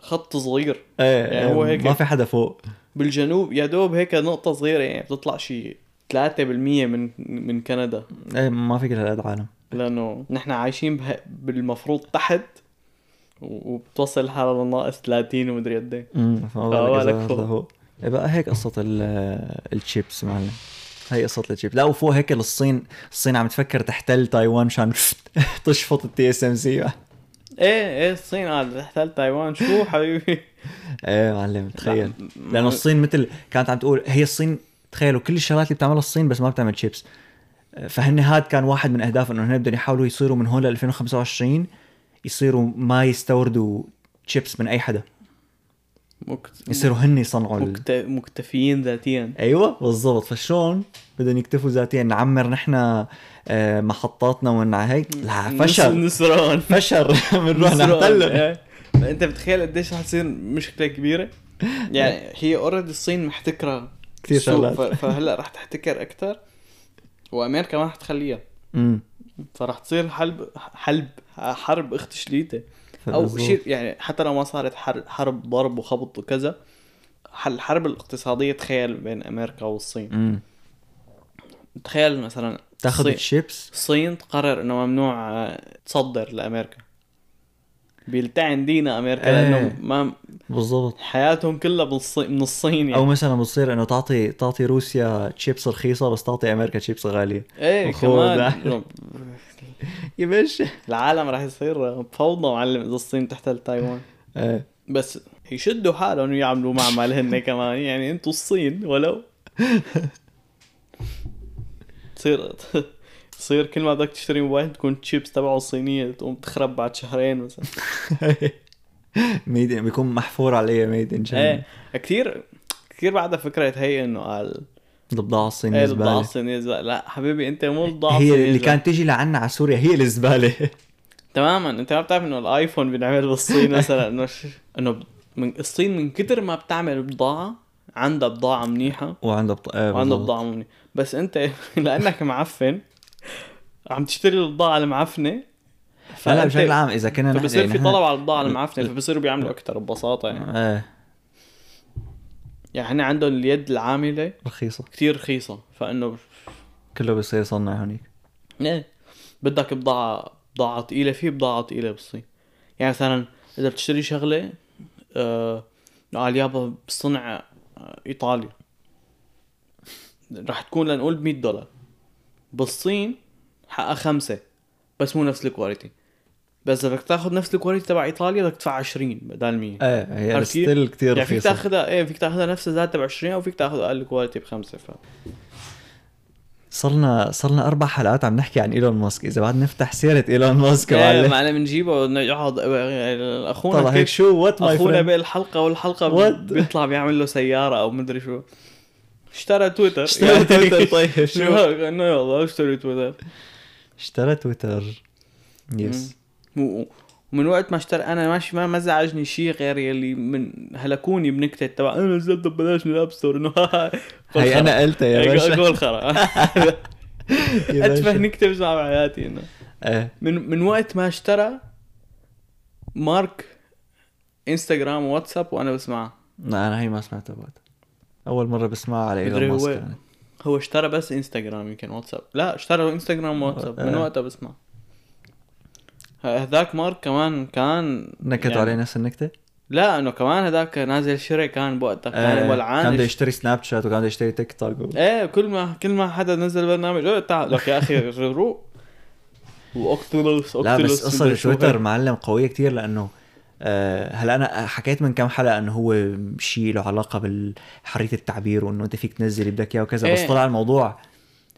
خط صغير
ايه
يعني هو
إيه،
هيك-
ما في حدا فوق
بالجنوب يا دوب هيك نقطة صغيرة يعني بتطلع شي 3% 3% من من كندا
إيه، ما في كل هالقد عالم
لانه نحن عايشين به... بالمفروض تحت و- وبتوصل حالها لناقص 30 ومدري قد ايه
امم
فهو لك
فهو
فوق.
هو إيه بقى هيك قصه ال- الشيبس معلم هي قصة الشيب لا وفوق هيك الصين الصين عم تفكر تحتل تايوان عشان تشفط التي اس ام سي
ايه ايه الصين قاعدة تحتل تايوان شو حبيبي
ايه معلم تخيل
لا،
لانه الصين مثل كانت عم تقول هي الصين تخيلوا كل الشغلات اللي بتعملها الصين بس ما بتعمل شيبس فهن هاد كان واحد من اهداف انه هن بدهم يحاولوا يصيروا من هون ل 2025 يصيروا ما يستوردوا شيبس من اي حدا
مكت...
يصيروا هن يصنعوا ال...
مكت... مكتفيين ذاتيا
ايوه بالضبط فشلون بدهم يكتفوا ذاتيا نعمر نحن آه، محطاتنا ونع هيك لا فشل
نسرون
فشل بنروح
نسرون.
نحتلهم
إيه. انت بتخيل قديش رح تصير مشكله كبيره يعني هي اوريدي الصين محتكره
كثير
السوق،
شغلات.
ف- فهلا رح تحتكر اكثر وامريكا ما رح تخليها
أمم،
فرح تصير حلب حلب حرب اخت شليته او
بالضبط.
شيء يعني حتى لو ما صارت حر- حرب ضرب وخبط وكذا ح- الحرب الاقتصاديه تخيل بين امريكا والصين
أمم.
تخيل مثلا
تاخذ
الصين-
الشيبس
الصين تقرر انه ممنوع آه، تصدر لامريكا بيلتعن دينا امريكا
إيه.
لانه ما
بالضبط
حياتهم كلها بالصين من الصين يعني
او مثلا بتصير انه تعطي تعطي روسيا تشيبس رخيصه بس تعطي امريكا تشيبس غاليه
ايه
وخوض.
كمان إنه
يا باشا
العالم راح يصير فوضى معلم اذا الصين تحتل تايوان
ايه
بس يشدوا حالهم ويعملوا معمل هن كمان يعني انتوا الصين ولو تصير تصير كل ما بدك تشتري موبايل تكون تشيبس تبعه صينيه تقوم تخرب بعد شهرين مثلا
ميدن بيكون محفور عليه ميدن جن
ايه كثير كثير بعدها فكره هي انه قال
البضاعه الصينيه
ايه
الزباله
الضعف الصينية زبالة لا حبيبي انت مو إيه، الضعف
هي اللي كانت تيجي لعنا على سوريا هي الزباله
تماما انت ما بتعرف انه الايفون بينعمل بالصين مثلا انه ش- انه ب- من الصين من كتر ما بتعمل بضاعه عندها بضاعه منيحه
وعندها بط... آه
وعندها
بالضبط.
بضاعه منيحه بس انت لانك معفن عم تشتري البضاعه المعفنه
لا
فأنت-
بشكل عام اذا كنا نحن
فبصير في
يعني
طلب
نحن-
على البضاعه المعفنه فبصيروا بيعملوا اكثر ببساطه يعني
ايه
يعني هن عندهم اليد العامله
رخيصه
كتير رخيصه فانه
كله بيصير يصنع هونيك
ايه بدك بضاعة بضاعة تقيلة في بضاعة تقيلة بالصين يعني مثلا إذا بتشتري شغلة آه قال يابا بصنع آه، إيطالي رح تكون لنقول ب 100 دولار بالصين حقها خمسة بس مو نفس الكواليتي بس إذا بدك تاخذ نفس الكواليتي تبع إيطاليا بدك تدفع 20 بدل 100
ايه هي
عرفت كيف؟
ستيل كثير
يعني فيك
رخيصه
تاخذها ايه فيك تاخذها نفس الذات ب 20 او فيك تاخذ اقل كواليتي بخمسه ف
صرنا صرنا اربع حلقات عم نحكي عن ايلون ماسك اذا بعد نفتح سيره ايلون ماسك
ايه
معلم
معلم نجيبه يقعد
طلع
اخونا
هيك
كيف
شو وات ماي
اخونا
فريند
بالحلقه والحلقه
What?
بي- بيطلع بيعمل له سياره او مدري شو اشترى تويتر
اشترى
يعني-
تويتر، طيب، شو؟
شو هيك؟ انه يلا اشتري تويتر
اشترى تويتر يس
و- ومن وقت ما اشترى انا ماشي ما ما زعجني شيء غير يلي من هلكوني بنكته تبع انا نزلته ببلاش من الاب ستور انه
هي انا قلتها يا باشا
إيه، قول خرا
يا باشا.
اتفه نكته بسمعها بحياتي انه
ايه
من من وقت ما اشترى مارك انستغرام وواتساب وانا بسمعها
لا انا هي ما سمعتها بعد اول مره بسمعها على
مدري
ايلون
هو
ماسك يعني.
هو اشترى بس انستغرام يمكن واتساب لا اشترى انستغرام واتساب من
آه.
وقتها بسمع هذاك مارك كمان كان
نكت
يعني-
عليه نفس النكته
لا انه كمان هذاك نازل شري كان بوقتها كان
آه، كان
ولعان
بده
اش-
يشتري سناب شات وكان بده يشتري تيك توك و...
ايه كل ما كل ما حدا نزل برنامج ايه تعال لك يا اخي روق واوكتولوس
لا
اوكتولوس
بس قصه
مدري شو
تويتر
هيك.
معلم قويه كتير لانه آه، هلا انا حكيت من كم حلقه انه هو شيء له علاقه بحريه التعبير وانه انت فيك تنزل اللي بدك اياه وكذا بس
إيه.
طلع الموضوع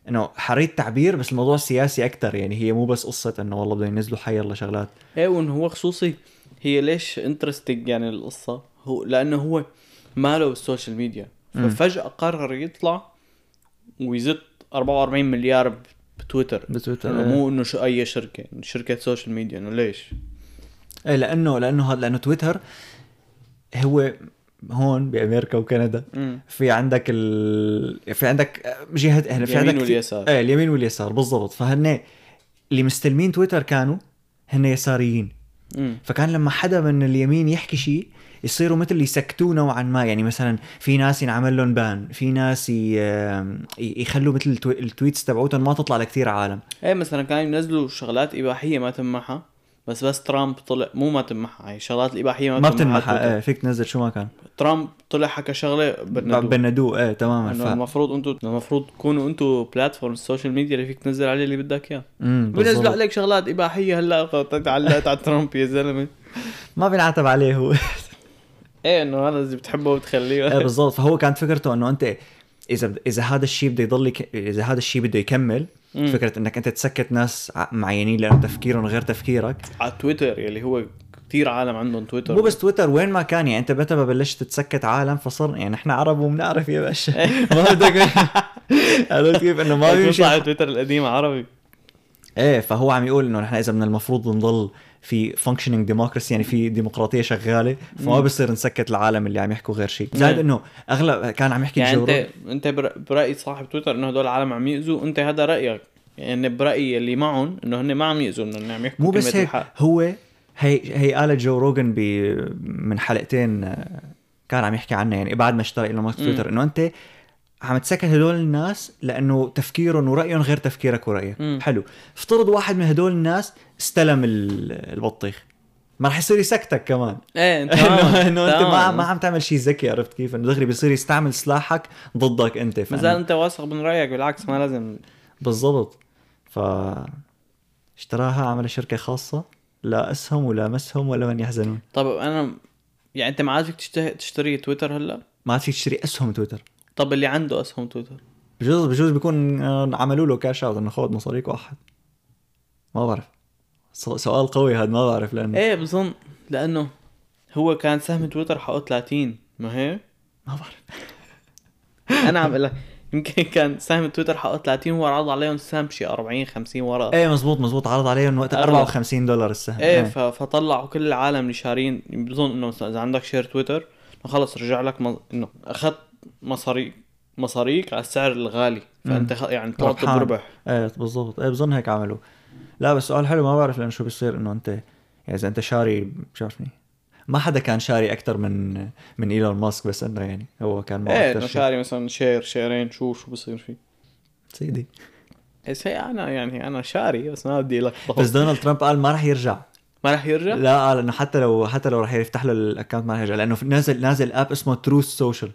انه حريه التعبير بس الموضوع سياسي اكثر يعني هي مو بس قصه انه والله بدهم ينزلوا حيلا شغلات
ايه وانه هو خصوصي هي ليش انترستنج يعني القصه هو لانه هو ماله بالسوشيال ميديا
مم.
ففجاه قرر يطلع ويزت 44 مليار ب- بتويتر
بتويتر إيه.
إنه مو انه شو اي شركه إنه شركه سوشيال ميديا انه ليش
ايه لانه لانه هذا لانه تويتر هو هون بامريكا وكندا
مم.
في عندك ال... في عندك جهه يعني في
اليمين
عندك كتير-
واليسار.
ايه اليمين واليسار بالضبط فهن اللي مستلمين تويتر كانوا هن يساريين
مم.
فكان لما حدا من اليمين يحكي شيء يصيروا مثل يسكتوه نوعا ما يعني مثلا في ناس ينعمل لهم بان في ناس ي- آم، ي- يخلوا مثل التو- التويتس تبعوتهم ما تطلع لكثير عالم
ايه مثلا كانوا ينزلوا شغلات اباحيه ما تمحها بس بس ترامب طلع مو ما تمحها هي شغلات الاباحيه ما,
ما
تويتر.
بتنمحى آه، فيك تنزل شو ما كان
ترامب طلع حكى شغله بالندوب
بندوق ايه تماما
انه
ف...
المفروض انتم المفروض تكونوا انتم بلاتفورم السوشيال ميديا اللي فيك تنزل عليه اللي بدك اياه
مم،
بنزلوا
بالضبط.
عليك شغلات اباحيه هلا تعلقت على ترامب يا زلمه
ما بينعتب عليه هو
ايه انه هذا اللي بتحبه
ايه
وبتخليه
بالضبط فهو كانت فكرته انه انت اذا اذا هذا الشيء بده يضل يك... اذا هذا الشيء بده يكمل
مم.
فكره انك انت تسكت ناس ع- معينين لانه تفكيرهم غير تفكيرك
على تويتر يلي هو كثير عالم عندهم تويتر
مو بس تويتر وين ما كان يعني انت متى ما بلشت تتسكت عالم فصرنا يعني نحن عرب وبنعرف يا باشا
إيه.
ما بدك عرفت كيف انه ما بيمشي
بيطلع على إيه، تويتر القديم عربي
ايه فهو عم يقول انه نحن اذا من المفروض نضل في functioning democracy يعني في ديمقراطيه شغاله فما بصير نسكت العالم اللي عم يحكوا غير شيء زائد
مم.
انه اغلب كان عم يحكي
يعني
بجوره
انت انت بر- برايي صاحب تويتر انه هدول العالم عم يأذوا انت هذا رايك يعني برايي اللي معهم انه هن ما عم يأذوا انه هن عم يحكوا
مو بس
كلمة
هيك
الحق.
هو هي هي قالت جو روجن ب من حلقتين آه، كان عم يحكي عنها يعني بعد ما اشترى ايلون ماسك تويتر انه انت عم تسكت هدول الناس لانه تفكيرهم ورايهم غير تفكيرك ورايك
مم.
حلو افترض واحد من هدول الناس استلم ال- البطيخ ما رح يصير يسكتك كمان
ايه انت
انه انه انت ما ما عم تعمل شيء ذكي عرفت كيف انه دغري بيصير يستعمل سلاحك ضدك انت
ما زال
فأنا-
انت واثق من رايك بالعكس ما لازم
بالضبط ف اشتراها عمل شركة خاصة لا أسهم ولا مسهم ولا من يحزنون
طب انا يعني انت ما عاد فيك تشته- تشتري تويتر هلا
ما عاد فيك تشتري أسهم تويتر
طب اللي عنده اسهم تويتر
بجوز بجوز بيكون آه، عملوا له كاش اوت انه خذ مصاريك واحد ما بعرف س- سؤال قوي هذا ما بعرف لانه
ايه بظن لانه هو كان سهم تويتر حقه 30 ما هي
ما بعرف
انا عم اقول لك يمكن كان سهم تويتر حقه 30 هو عرض عليهم السهم شي 40 50 ورقه
ايه مزبوط مزبوط عرض عليهم وقتها
أغلى.
54 دولار السهم إيه.
ايه ف- فطلعوا كل العالم اللي شارين بظن انه مثلا اذا عندك شير تويتر إنه خلص رجع لك مز... انه اخذت مصاريك مصاريك على السعر الغالي فانت خ... يعني طلعت
ربحان.
بربح
ايه بالضبط ايه بظن هيك عملوا لا بس سؤال حلو ما بعرف لانه شو بيصير انه انت يعني اذا انت شاري مش عارف مين. ما حدا كان شاري اكثر من من ايلون ماسك بس انه يعني هو كان معه
ايه
أكتر
انه
شيء.
شاري مثلا شير شيرين شو شو بصير فيه
سيدي
بس هي انا إيه، يعني انا شاري بس ما بدي لك
بس دونالد ترامب قال ما راح يرجع
ما رح يرجع
لا قال انه حتى لو حتى لو راح يفتح له الاكونت ما راح يرجع لانه في- نازل نازل اب اسمه تروث سوشيال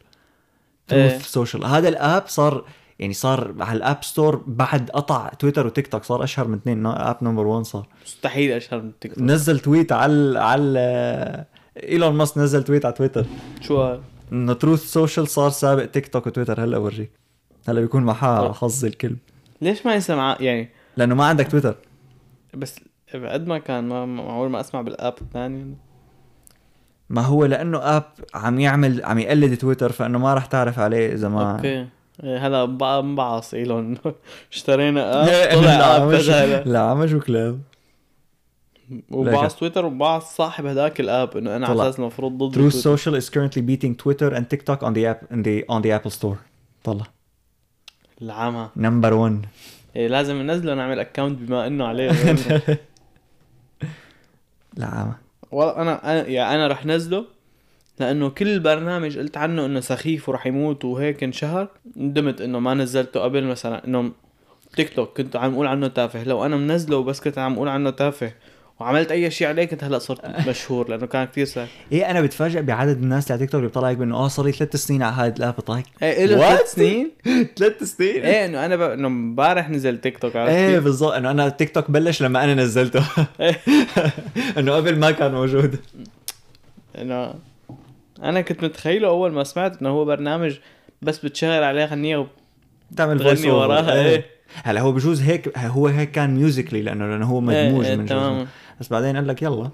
إيه.
تروث سوشيال هذا الاب صار يعني صار على الاب ستور بعد قطع تويتر وتيك توك صار اشهر من اثنين اب نمبر 1 صار
مستحيل اشهر من تيك توك
نزل تويت على على ايلون ماسك نزل تويت على تويتر
شو هاي؟
انه تروث سوشيال صار سابق تيك توك وتويتر هلا اورجيك هلا بيكون معها
طيب.
حظ الكلب
ليش ما يسمع يعني
لانه ما عندك تويتر
بس قد ما كان ما ما- معقول ما اسمع بالاب الثاني
ما هو لانه اب عم يعمل عم يقلد تويتر فانه ما راح تعرف عليه اذا ما
اوكي إيه هلا بقى مبعص ايلون اشترينا اب آه، طلع اب
لا
فجاه
لعمش وكلاب
وبعث تويتر وبعث صاحب هداك الاب انه انا على
طلع.
اساس المفروض ضد
تروث
تويتر.
سوشيال is currently beating Twitter and TikTok on the app in the on the Apple Store طلع
العمى
نمبر 1
إيه لازم ننزله نعمل اكونت بما انه عليه
لعمة
والله انا انا يعني انا رح نزله لانه كل برنامج قلت عنه انه سخيف ورح يموت وهيك انشهر ندمت انه ما نزلته قبل مثلا انه تيك توك كنت عم اقول عنه تافه لو انا منزله وبس كنت عم اقول عنه تافه وعملت اي شيء عليه كنت هلا صرت مشهور لانه كان كثير سهل
ايه انا بتفاجئ بعدد الناس اللي على تيك توك اللي بيطلع لك بانه اه صار لي ثلاث سنين على هذا الاب طايق
ايه له
What؟
ثلاث سنين
ثلاث سنين
ايه انه انا ب... انه امبارح نزل تيك توك عرفت
ايه
كيف؟ إيه،
بالضبط انه انا تيك توك بلش لما انا نزلته انه قبل ما كان موجود
انه انا كنت متخيله اول ما سمعت انه هو برنامج بس بتشغل عليه غنيه وب...
تعمل
تغني
voice over.
وراها، إيه.
هلا هو بجوز هيك هو هيك كان ميوزيكلي لانه لانه هو مدموج
إيه،
من
تماماً.
جوا بس بعدين قال لك يلا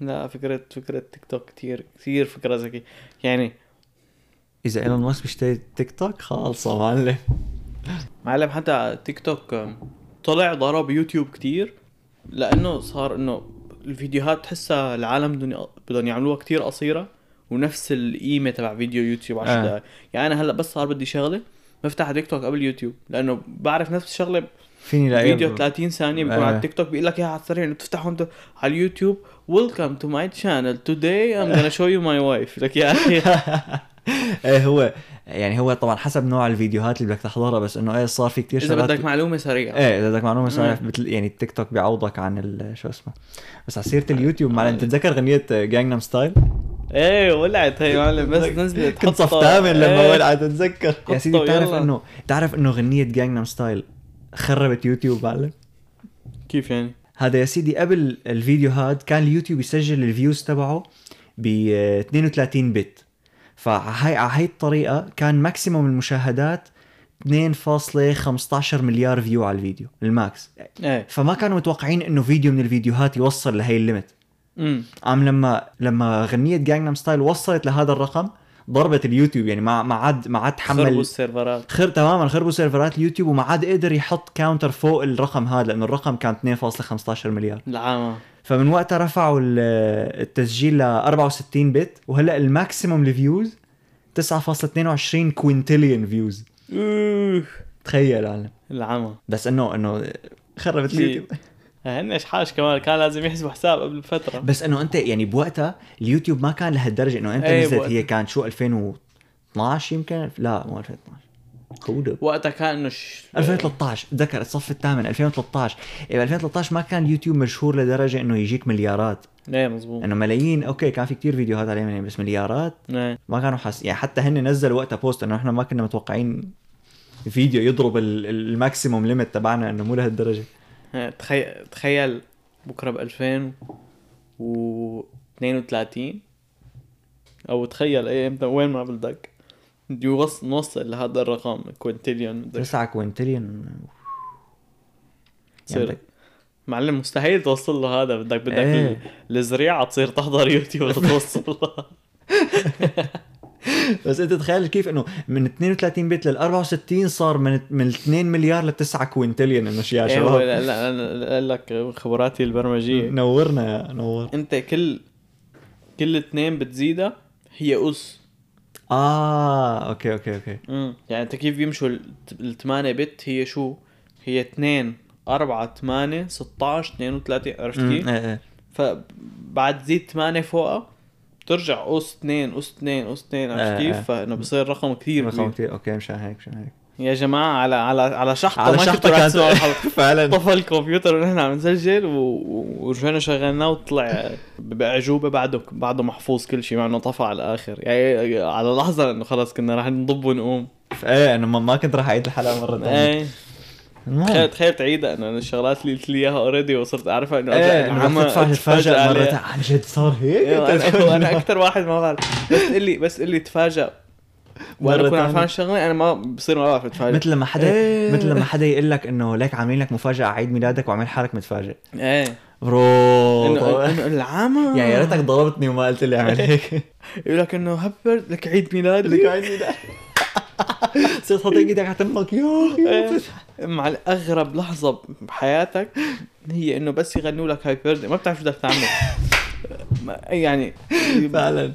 لا فكرة فكرة تيك توك كتير كتير فكرة ذكية يعني
اذا ايلون ماسك بيشتري تيك توك خالصه معلم
معلم حتى تيك توك أم، طلع ضرب يوتيوب كتير لأنه صار إنه الفيديوهات تحسها العالم بدهم يق- بدهم يعملوها كتير قصيرة ونفس القيمة تبع فيديو يوتيوب 10
آه.
دقايق يعني أنا هلا بس صار بدي شغلة بفتح تيك توك قبل يوتيوب لأنه بعرف نفس الشغلة
فيني لا
فيديو 30 ثانيه بيكون
آه.
على التيك توك بيقول لك اياها على السريع انه بتفتحه انت على اليوتيوب ويلكم تو ماي شانل توداي ام gonna شو يو ماي وايف لك يا اخي
ايه هو يعني هو طبعا حسب نوع الفيديوهات اللي بدك تحضرها بس انه ايه صار في كتير
اذا
شغلات
بدك معلومه سريعه
ايه اذا بدك معلومه صحيح
مم.
مثل يعني التيك توك بيعوضك عن ال- شو اسمه بس على
آه،
سيره اليوتيوب معلم تتذكر غنيه جانجنام ستايل
ايه ولعت هي معلم بس نزلت
كنت صف
حطها.
ثامن
إيه.
لما ولعت اتذكر يا سيدي
حطها
بتعرف
ويلا.
انه بتعرف انه غنيه جانجنام ستايل خربت يوتيوب معلم
كيف يعني؟
هذا يا سيدي قبل الفيديو هاد كان اليوتيوب يسجل الفيوز تبعه ب 32 بت فهاي على هاي الطريقه كان ماكسيموم المشاهدات 2.15 مليار فيو على الفيديو الماكس
ايه
فما كانوا متوقعين انه فيديو من الفيديوهات يوصل لهي الليمت
امم
عم لما لما غنيه جانجنام ستايل وصلت لهذا الرقم ضربت اليوتيوب يعني ما ما عاد ما عاد
خربوا
تحمل
السيرفرات
خر تماما خربوا سيرفرات اليوتيوب وما عاد قدر يحط كاونتر فوق الرقم هذا لانه الرقم كان 2.15 مليار
العامة
فمن وقتها رفعوا ال- التسجيل ل 64 بت وهلا الماكسيموم الفيوز 9.22 كوينتليون فيوز
اوه
تخيل عالم
العمى
بس انه انه خربت
شي.
اليوتيوب
هن اشحاش كمان كان لازم يحسبوا حساب قبل بفترة
بس انه انت يعني بوقتها اليوتيوب ما كان لهالدرجه انه انت
إيه
نزلت
بوقتها.
هي كانت شو 2012 يمكن لا مو 2012 خودب
وقتها كان انه ش...
2013 اتذكر الصف الثامن 2013 إيه، ب 2013 ما كان اليوتيوب مشهور لدرجه انه يجيك مليارات
ايه مزبوط
انه ملايين اوكي كان في كتير فيديوهات عليه ملايين، بس مليارات
ايه
ما كانوا حاس يعني حتى هن نزلوا وقتها بوست انه احنا ما كنا متوقعين فيديو يضرب ال- ال- الماكسيموم ليميت تبعنا انه مو لهالدرجه
إيه، تخيل تخيل بكره ب 2032 او تخيل ايه امتى وين ما بدك بدي يوص- نوصل لهذا الرقم كوينتليون بدك
9 كوينتليون
تصير
يعني
معلم مستحيل توصل له هذا بدك بدك
إيه.
ال- الزريعه تصير تحضر يوتيوب توصل لها
بس انت تخيل كيف انه من 32 بت لل 64 صار من من 2 مليار ل 9 كوينتليون انه شيء يا
ايه هو
شباب
لا لا انا اقول لك خبراتي البرمجيه
نورنا نور
انت كل كل اثنين بتزيدها هي اس
اه اوكي اوكي اوكي
يعني انت كيف بيمشوا الت- الثمانية بت هي شو؟ هي اثنين أربعة ثمانية 16 32 عرفت
أمم،
كيف؟
ايه ايه
فبعد تزيد ثمانية فوقها بترجع اس اثنين اس اثنين اس اثنين
آه،
عرفت
آه.
كيف؟ فانه بصير رقم كثير
رقم
كبير
كتير اوكي مشان هيك مشان هيك
يا جماعة على على على شحطة
على
ما
شحطة
كنتوا رح تسمعوا الحلقة.
كانت فعلا
طفى الكمبيوتر ونحن عم نسجل و- و- ورجعنا شغلناه وطلع باعجوبه بعده بعده محفوظ كل شيء مع انه طفى على الاخر يعني على لحظه انه خلص كنا رح نضب ونقوم
ايه انا ما- ما كنت راح اعيد الحلقه مره ثانيه
ايه
المهم.
تخيل تخيل تعيدها انه أنا الشغلات اللي قلت لي اياها اوريدي وصرت اعرفها انه
ايه
أرجع-
لما تدفع تتفاجئ
عليها.
مرة عن جد صار هيك
إيه، انا انا اكثر واحد ما بعرف بس تقول لي بس تقول لي تفاجئ
مرة
وانا اكون
تانية.
عارفان الشغله انا ما بصير ما بعرف اتفاجئ
مثل لما حدا
إيه.
مثل لما حدا يقول لك انه ليك عاملين لك مفاجاه على عيد ميلادك وعامل حالك متفاجئ
ايه
برو
انه
طبعاً.
إنه العامة
يعني يا ريتك ضربتني وما قلت لي اعمل هيك
يقول لك انه هبر لك عيد ميلادي
لك عيد ميلاد صرت حاطط ايدك على تمك يا اخي
إيه. مع اغرب لحظه بحياتك هي انه بس يغنوا لك هاي بيرد ما بتعرف شو بدك تعمل ما- يعني
فعلا انا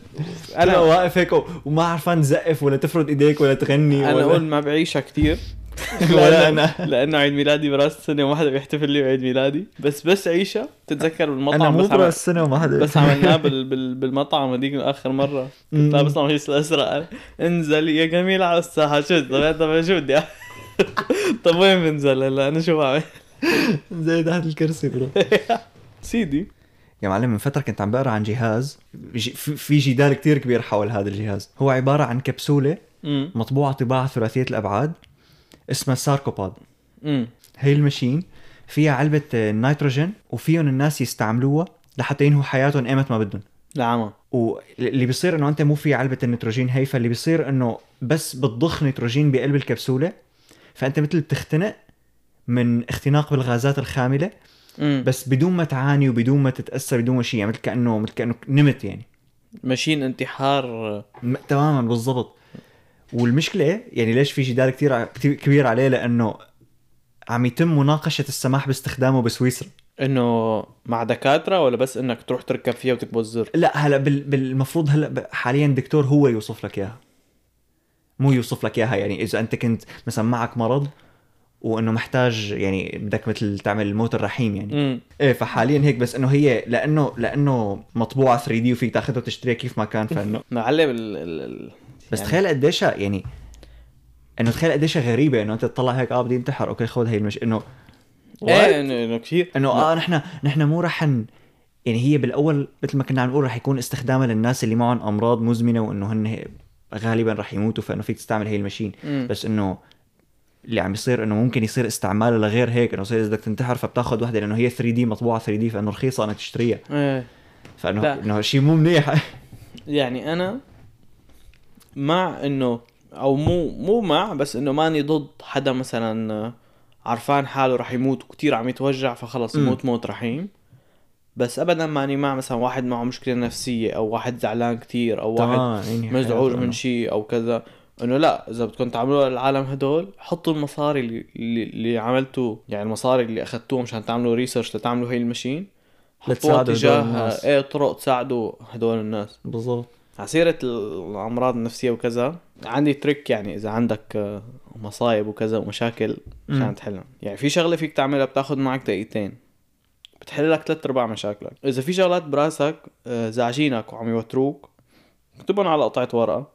انا
واقف هيك و- وما عرفان تزقف ولا تفرد ايديك ولا تغني
انا
ولا
اقول ما بعيشها كثير
ولا انا
لانه عيد ميلادي براس السنه وما حدا بيحتفل لي بعيد ميلادي بس بس عيشها بتتذكر
انا
بالمطعم
مو
بس عمل...
براس السنه وما حدا
بس عملناه بال... بال... بالمطعم هذيك اخر مره كنت لابس قميص الازرق انزل يا جميل على الساحه شو طب طب شو بدي أعمل؟ طب وين بنزل هلا انا شو بعمل
زي تحت الكرسي برو
سيدي
يا معلم من فتره كنت عم بقرا عن جهاز ج- في في جدال كتير كبير حول هذا الجهاز هو عباره عن كبسوله
امم
مطبوعه طباعه ثلاثيه الابعاد اسمها ساركوباد
امم
هي المشين فيها علبه آه، نيتروجين وفيهم الناس يستعملوها لحتى ينهوا حياتهم ايمت ما بدهم
العمى
واللي بيصير انه انت مو في علبه النيتروجين هي فاللي بيصير انه بس بتضخ نيتروجين بقلب الكبسوله فانت مثل بتختنق من اختناق بالغازات الخامله
امم
بس بدون ما تعاني وبدون ما تتاثر بدون ما شيء يعني مثل كانه مثل كانه نمت يعني
ماشين انتحار
م- تماما بالضبط والمشكله يعني ليش في جدال كثير ع- كتير كبير عليه لانه عم يتم مناقشه السماح باستخدامه بسويسرا
انه مع دكاتره ولا بس انك تروح تركب فيها وتكبس زر
لا هلا بال- بالمفروض هلا ب- حاليا دكتور هو يوصف لك اياها مو يوصف لك اياها يعني اذا انت كنت مثلا معك مرض وانه محتاج يعني بدك مثل تعمل الموت الرحيم يعني
امم
ايه فحاليا هيك بس انه هي لانه لانه مطبوعه 3 دي وفيك تاخذها وتشتريها كيف ما كان فانه
معلم ال ال ال
بس
يعني-
تخيل قديش يعني انه تخيل قديش غريبه انه انت تطلع هيك اه بدي انتحر اوكي خذ هي المش انه
ايه انه انه كثير
انه اه نحن نحن مو رح ن... يعني هي بالاول مثل ما كنا عم نقول رح يكون استخدامها للناس اللي معهم امراض مزمنه وانه هن غالبا رح يموتوا فانه فيك تستعمل هي المشين
مم.
بس انه اللي عم يصير انه ممكن يصير استعمالها لغير هيك انه يصير اذا بدك تنتحر فبتاخذ وحده لانه هي 3 دي مطبوعه 3 دي فانه رخيصه انك تشتريها
ايه
فانه
لا.
انه شيء مو منيح
يعني انا مع انه او مو مو مع بس انه ماني ضد حدا مثلا آه، عرفان حاله رح يموت وكتير عم يتوجع فخلص
مم.
يموت موت رحيم بس ابدا ماني مع مثلا واحد معه مشكله نفسيه او واحد زعلان كتير او واحد
تمام، يعني
مزعوج
حياته
من
إنه-
شيء او كذا انه لا اذا بدكم تعملوها للعالم هدول حطوا المصاري اللي, اللي- اللي عملتوه يعني المصاري اللي اخذتوها مشان تعملوا ريسيرش لتعملوا هي المشين حطوها
لتساعدوا هدول
تجاه
الناس.
ايه طرق تساعدوا هدول الناس
بالضبط
عسيرة الأمراض النفسية وكذا عندي تريك يعني إذا عندك آه، مصايب وكذا ومشاكل
مم.
مشان تحلها يعني في شغلة فيك تعملها بتاخد معك دقيقتين بتحل لك ثلاث أرباع مشاكلك إذا في شغلات براسك آه، زعجينك وعم يوتروك اكتبهم على قطعة ورقة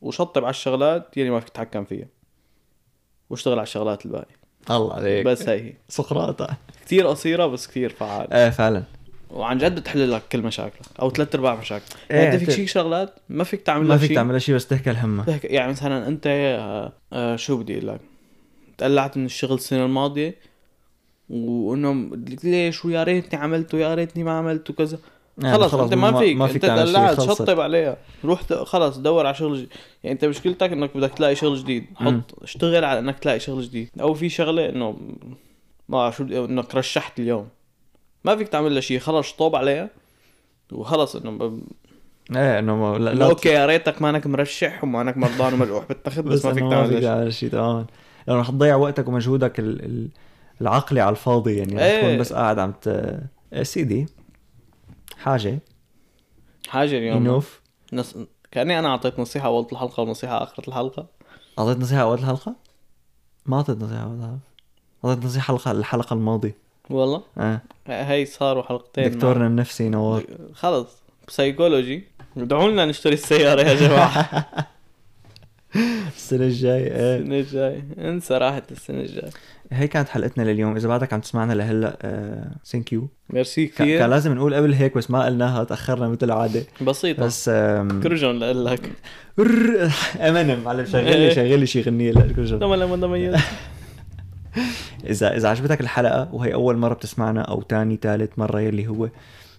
وشطب على الشغلات يلي ما فيك تتحكم فيها واشتغل على الشغلات الباقية
الله عليك
بس هي هي
سقراطة
كتير قصيرة بس كتير فعالة
ايه فعلا
وعن جد بتحل لك كل مشاكلك او ثلاث ارباع مشاكلك
إيه،
يعني انت فيك
ت-
شيء شغلات ما فيك تعمل
ما
لها
فيك
شيء
تعمل شيء بس تهكل همك
ضحك يعني مثلا انت آه، آه، شو بدي اقول لك تقلعت من الشغل السنه الماضيه وانه ليش ويا ريتني عملته يا ريتني ما عملته كذا
يعني
خلص, انت ما فيك
ما فيك
انت
تعمل
تقلعت
شيء خلصت
شطب عليها روح د- خلص دور على شغل جديد يعني انت مشكلتك انك بدك تلاقي شغل جديد
مم.
حط اشتغل على انك تلاقي شغل جديد او في شغله انه ما بعرف شو بدي اقول، انك رشحت اليوم ما فيك تعمل لها شيء خلص شطوب عليها وخلص انه ب-
ايه انه ما- لا,
لا
لا
اوكي يا ريتك ما انك مرشح وما انك مرضان ومجروح بالتخت بس, ما فيك
إنه
تعمل شيء
تعمل شيء تماما لانه رح تضيع وقتك ومجهودك ال... ال... العقلي على الفاضي يعني رح
إيه.
تكون بس قاعد عم ت إيه سيدي حاجة
حاجه اليوم
ينوف
نص... كاني انا اعطيت نصيحه اول الحلقه ونصيحه اخر الحلقه
اعطيت نصيحة اول الحلقة؟ ما اعطيت نصيحة اول الحلقة اعطيت نصيحة الحلقة الحلقة الماضية
والله
اه
هي صاروا حلقتين مع-
دكتورنا النفسي نوار
خلص بسيكولوجي ادعوا لنا نشتري السياره يا جماعه
السنة الجاية ايه
السنه الجاي انسى راحت السنه الجاي
هي كانت حلقتنا لليوم اذا بعدك عم تسمعنا لهلا آه، ثانك يو
ميرسي
كان كان
كثير
لازم نقول قبل هيك بس ما قلناها تاخرنا مثل العاده
بسيطه
بس آم،
كرجون لقول لك
رر- امانه معلم شغل
إيه.
لي شغل لي شي غنيه لأرجل.
لما لما لما
اذا اذا عجبتك الحلقه وهي اول مره بتسمعنا او تاني تالت مره يلي هو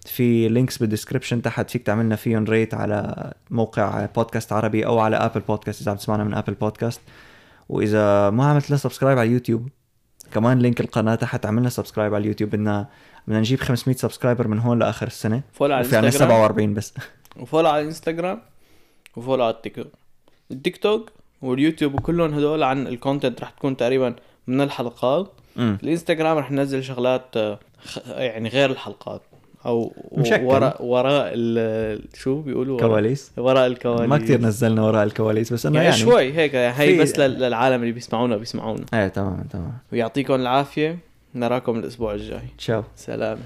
في لينكس بالدسكربشن تحت فيك تعملنا فيهم ريت على موقع بودكاست عربي او على ابل بودكاست اذا عم تسمعنا من ابل بودكاست واذا ما عملت لها سبسكرايب على اليوتيوب كمان لينك القناه تحت عملنا سبسكرايب على اليوتيوب بدنا بدنا نجيب 500 سبسكرايبر من هون لاخر السنه
فولو على
وفي عنا
الانستغرام
47 بس
وفولو على الانستغرام وفولو على التيك توك التيك توك واليوتيوب وكلهم هدول عن الكونتنت رح تكون تقريبا من الحلقات
امم
الانستغرام رح ننزل شغلات آه، خ- يعني غير الحلقات او
مشكل.
وراء وراء ال- شو بيقولوا وراء-
كواليس
وراء الكواليس
ما كتير نزلنا وراء الكواليس بس انه
يعني,
يعني,
شوي هيك هي
في-
بس لل- للعالم اللي بيسمعونا بيسمعونا
ايه إيه، تمام تمام
ويعطيكم العافيه نراكم الاسبوع الجاي
تشاو
سلام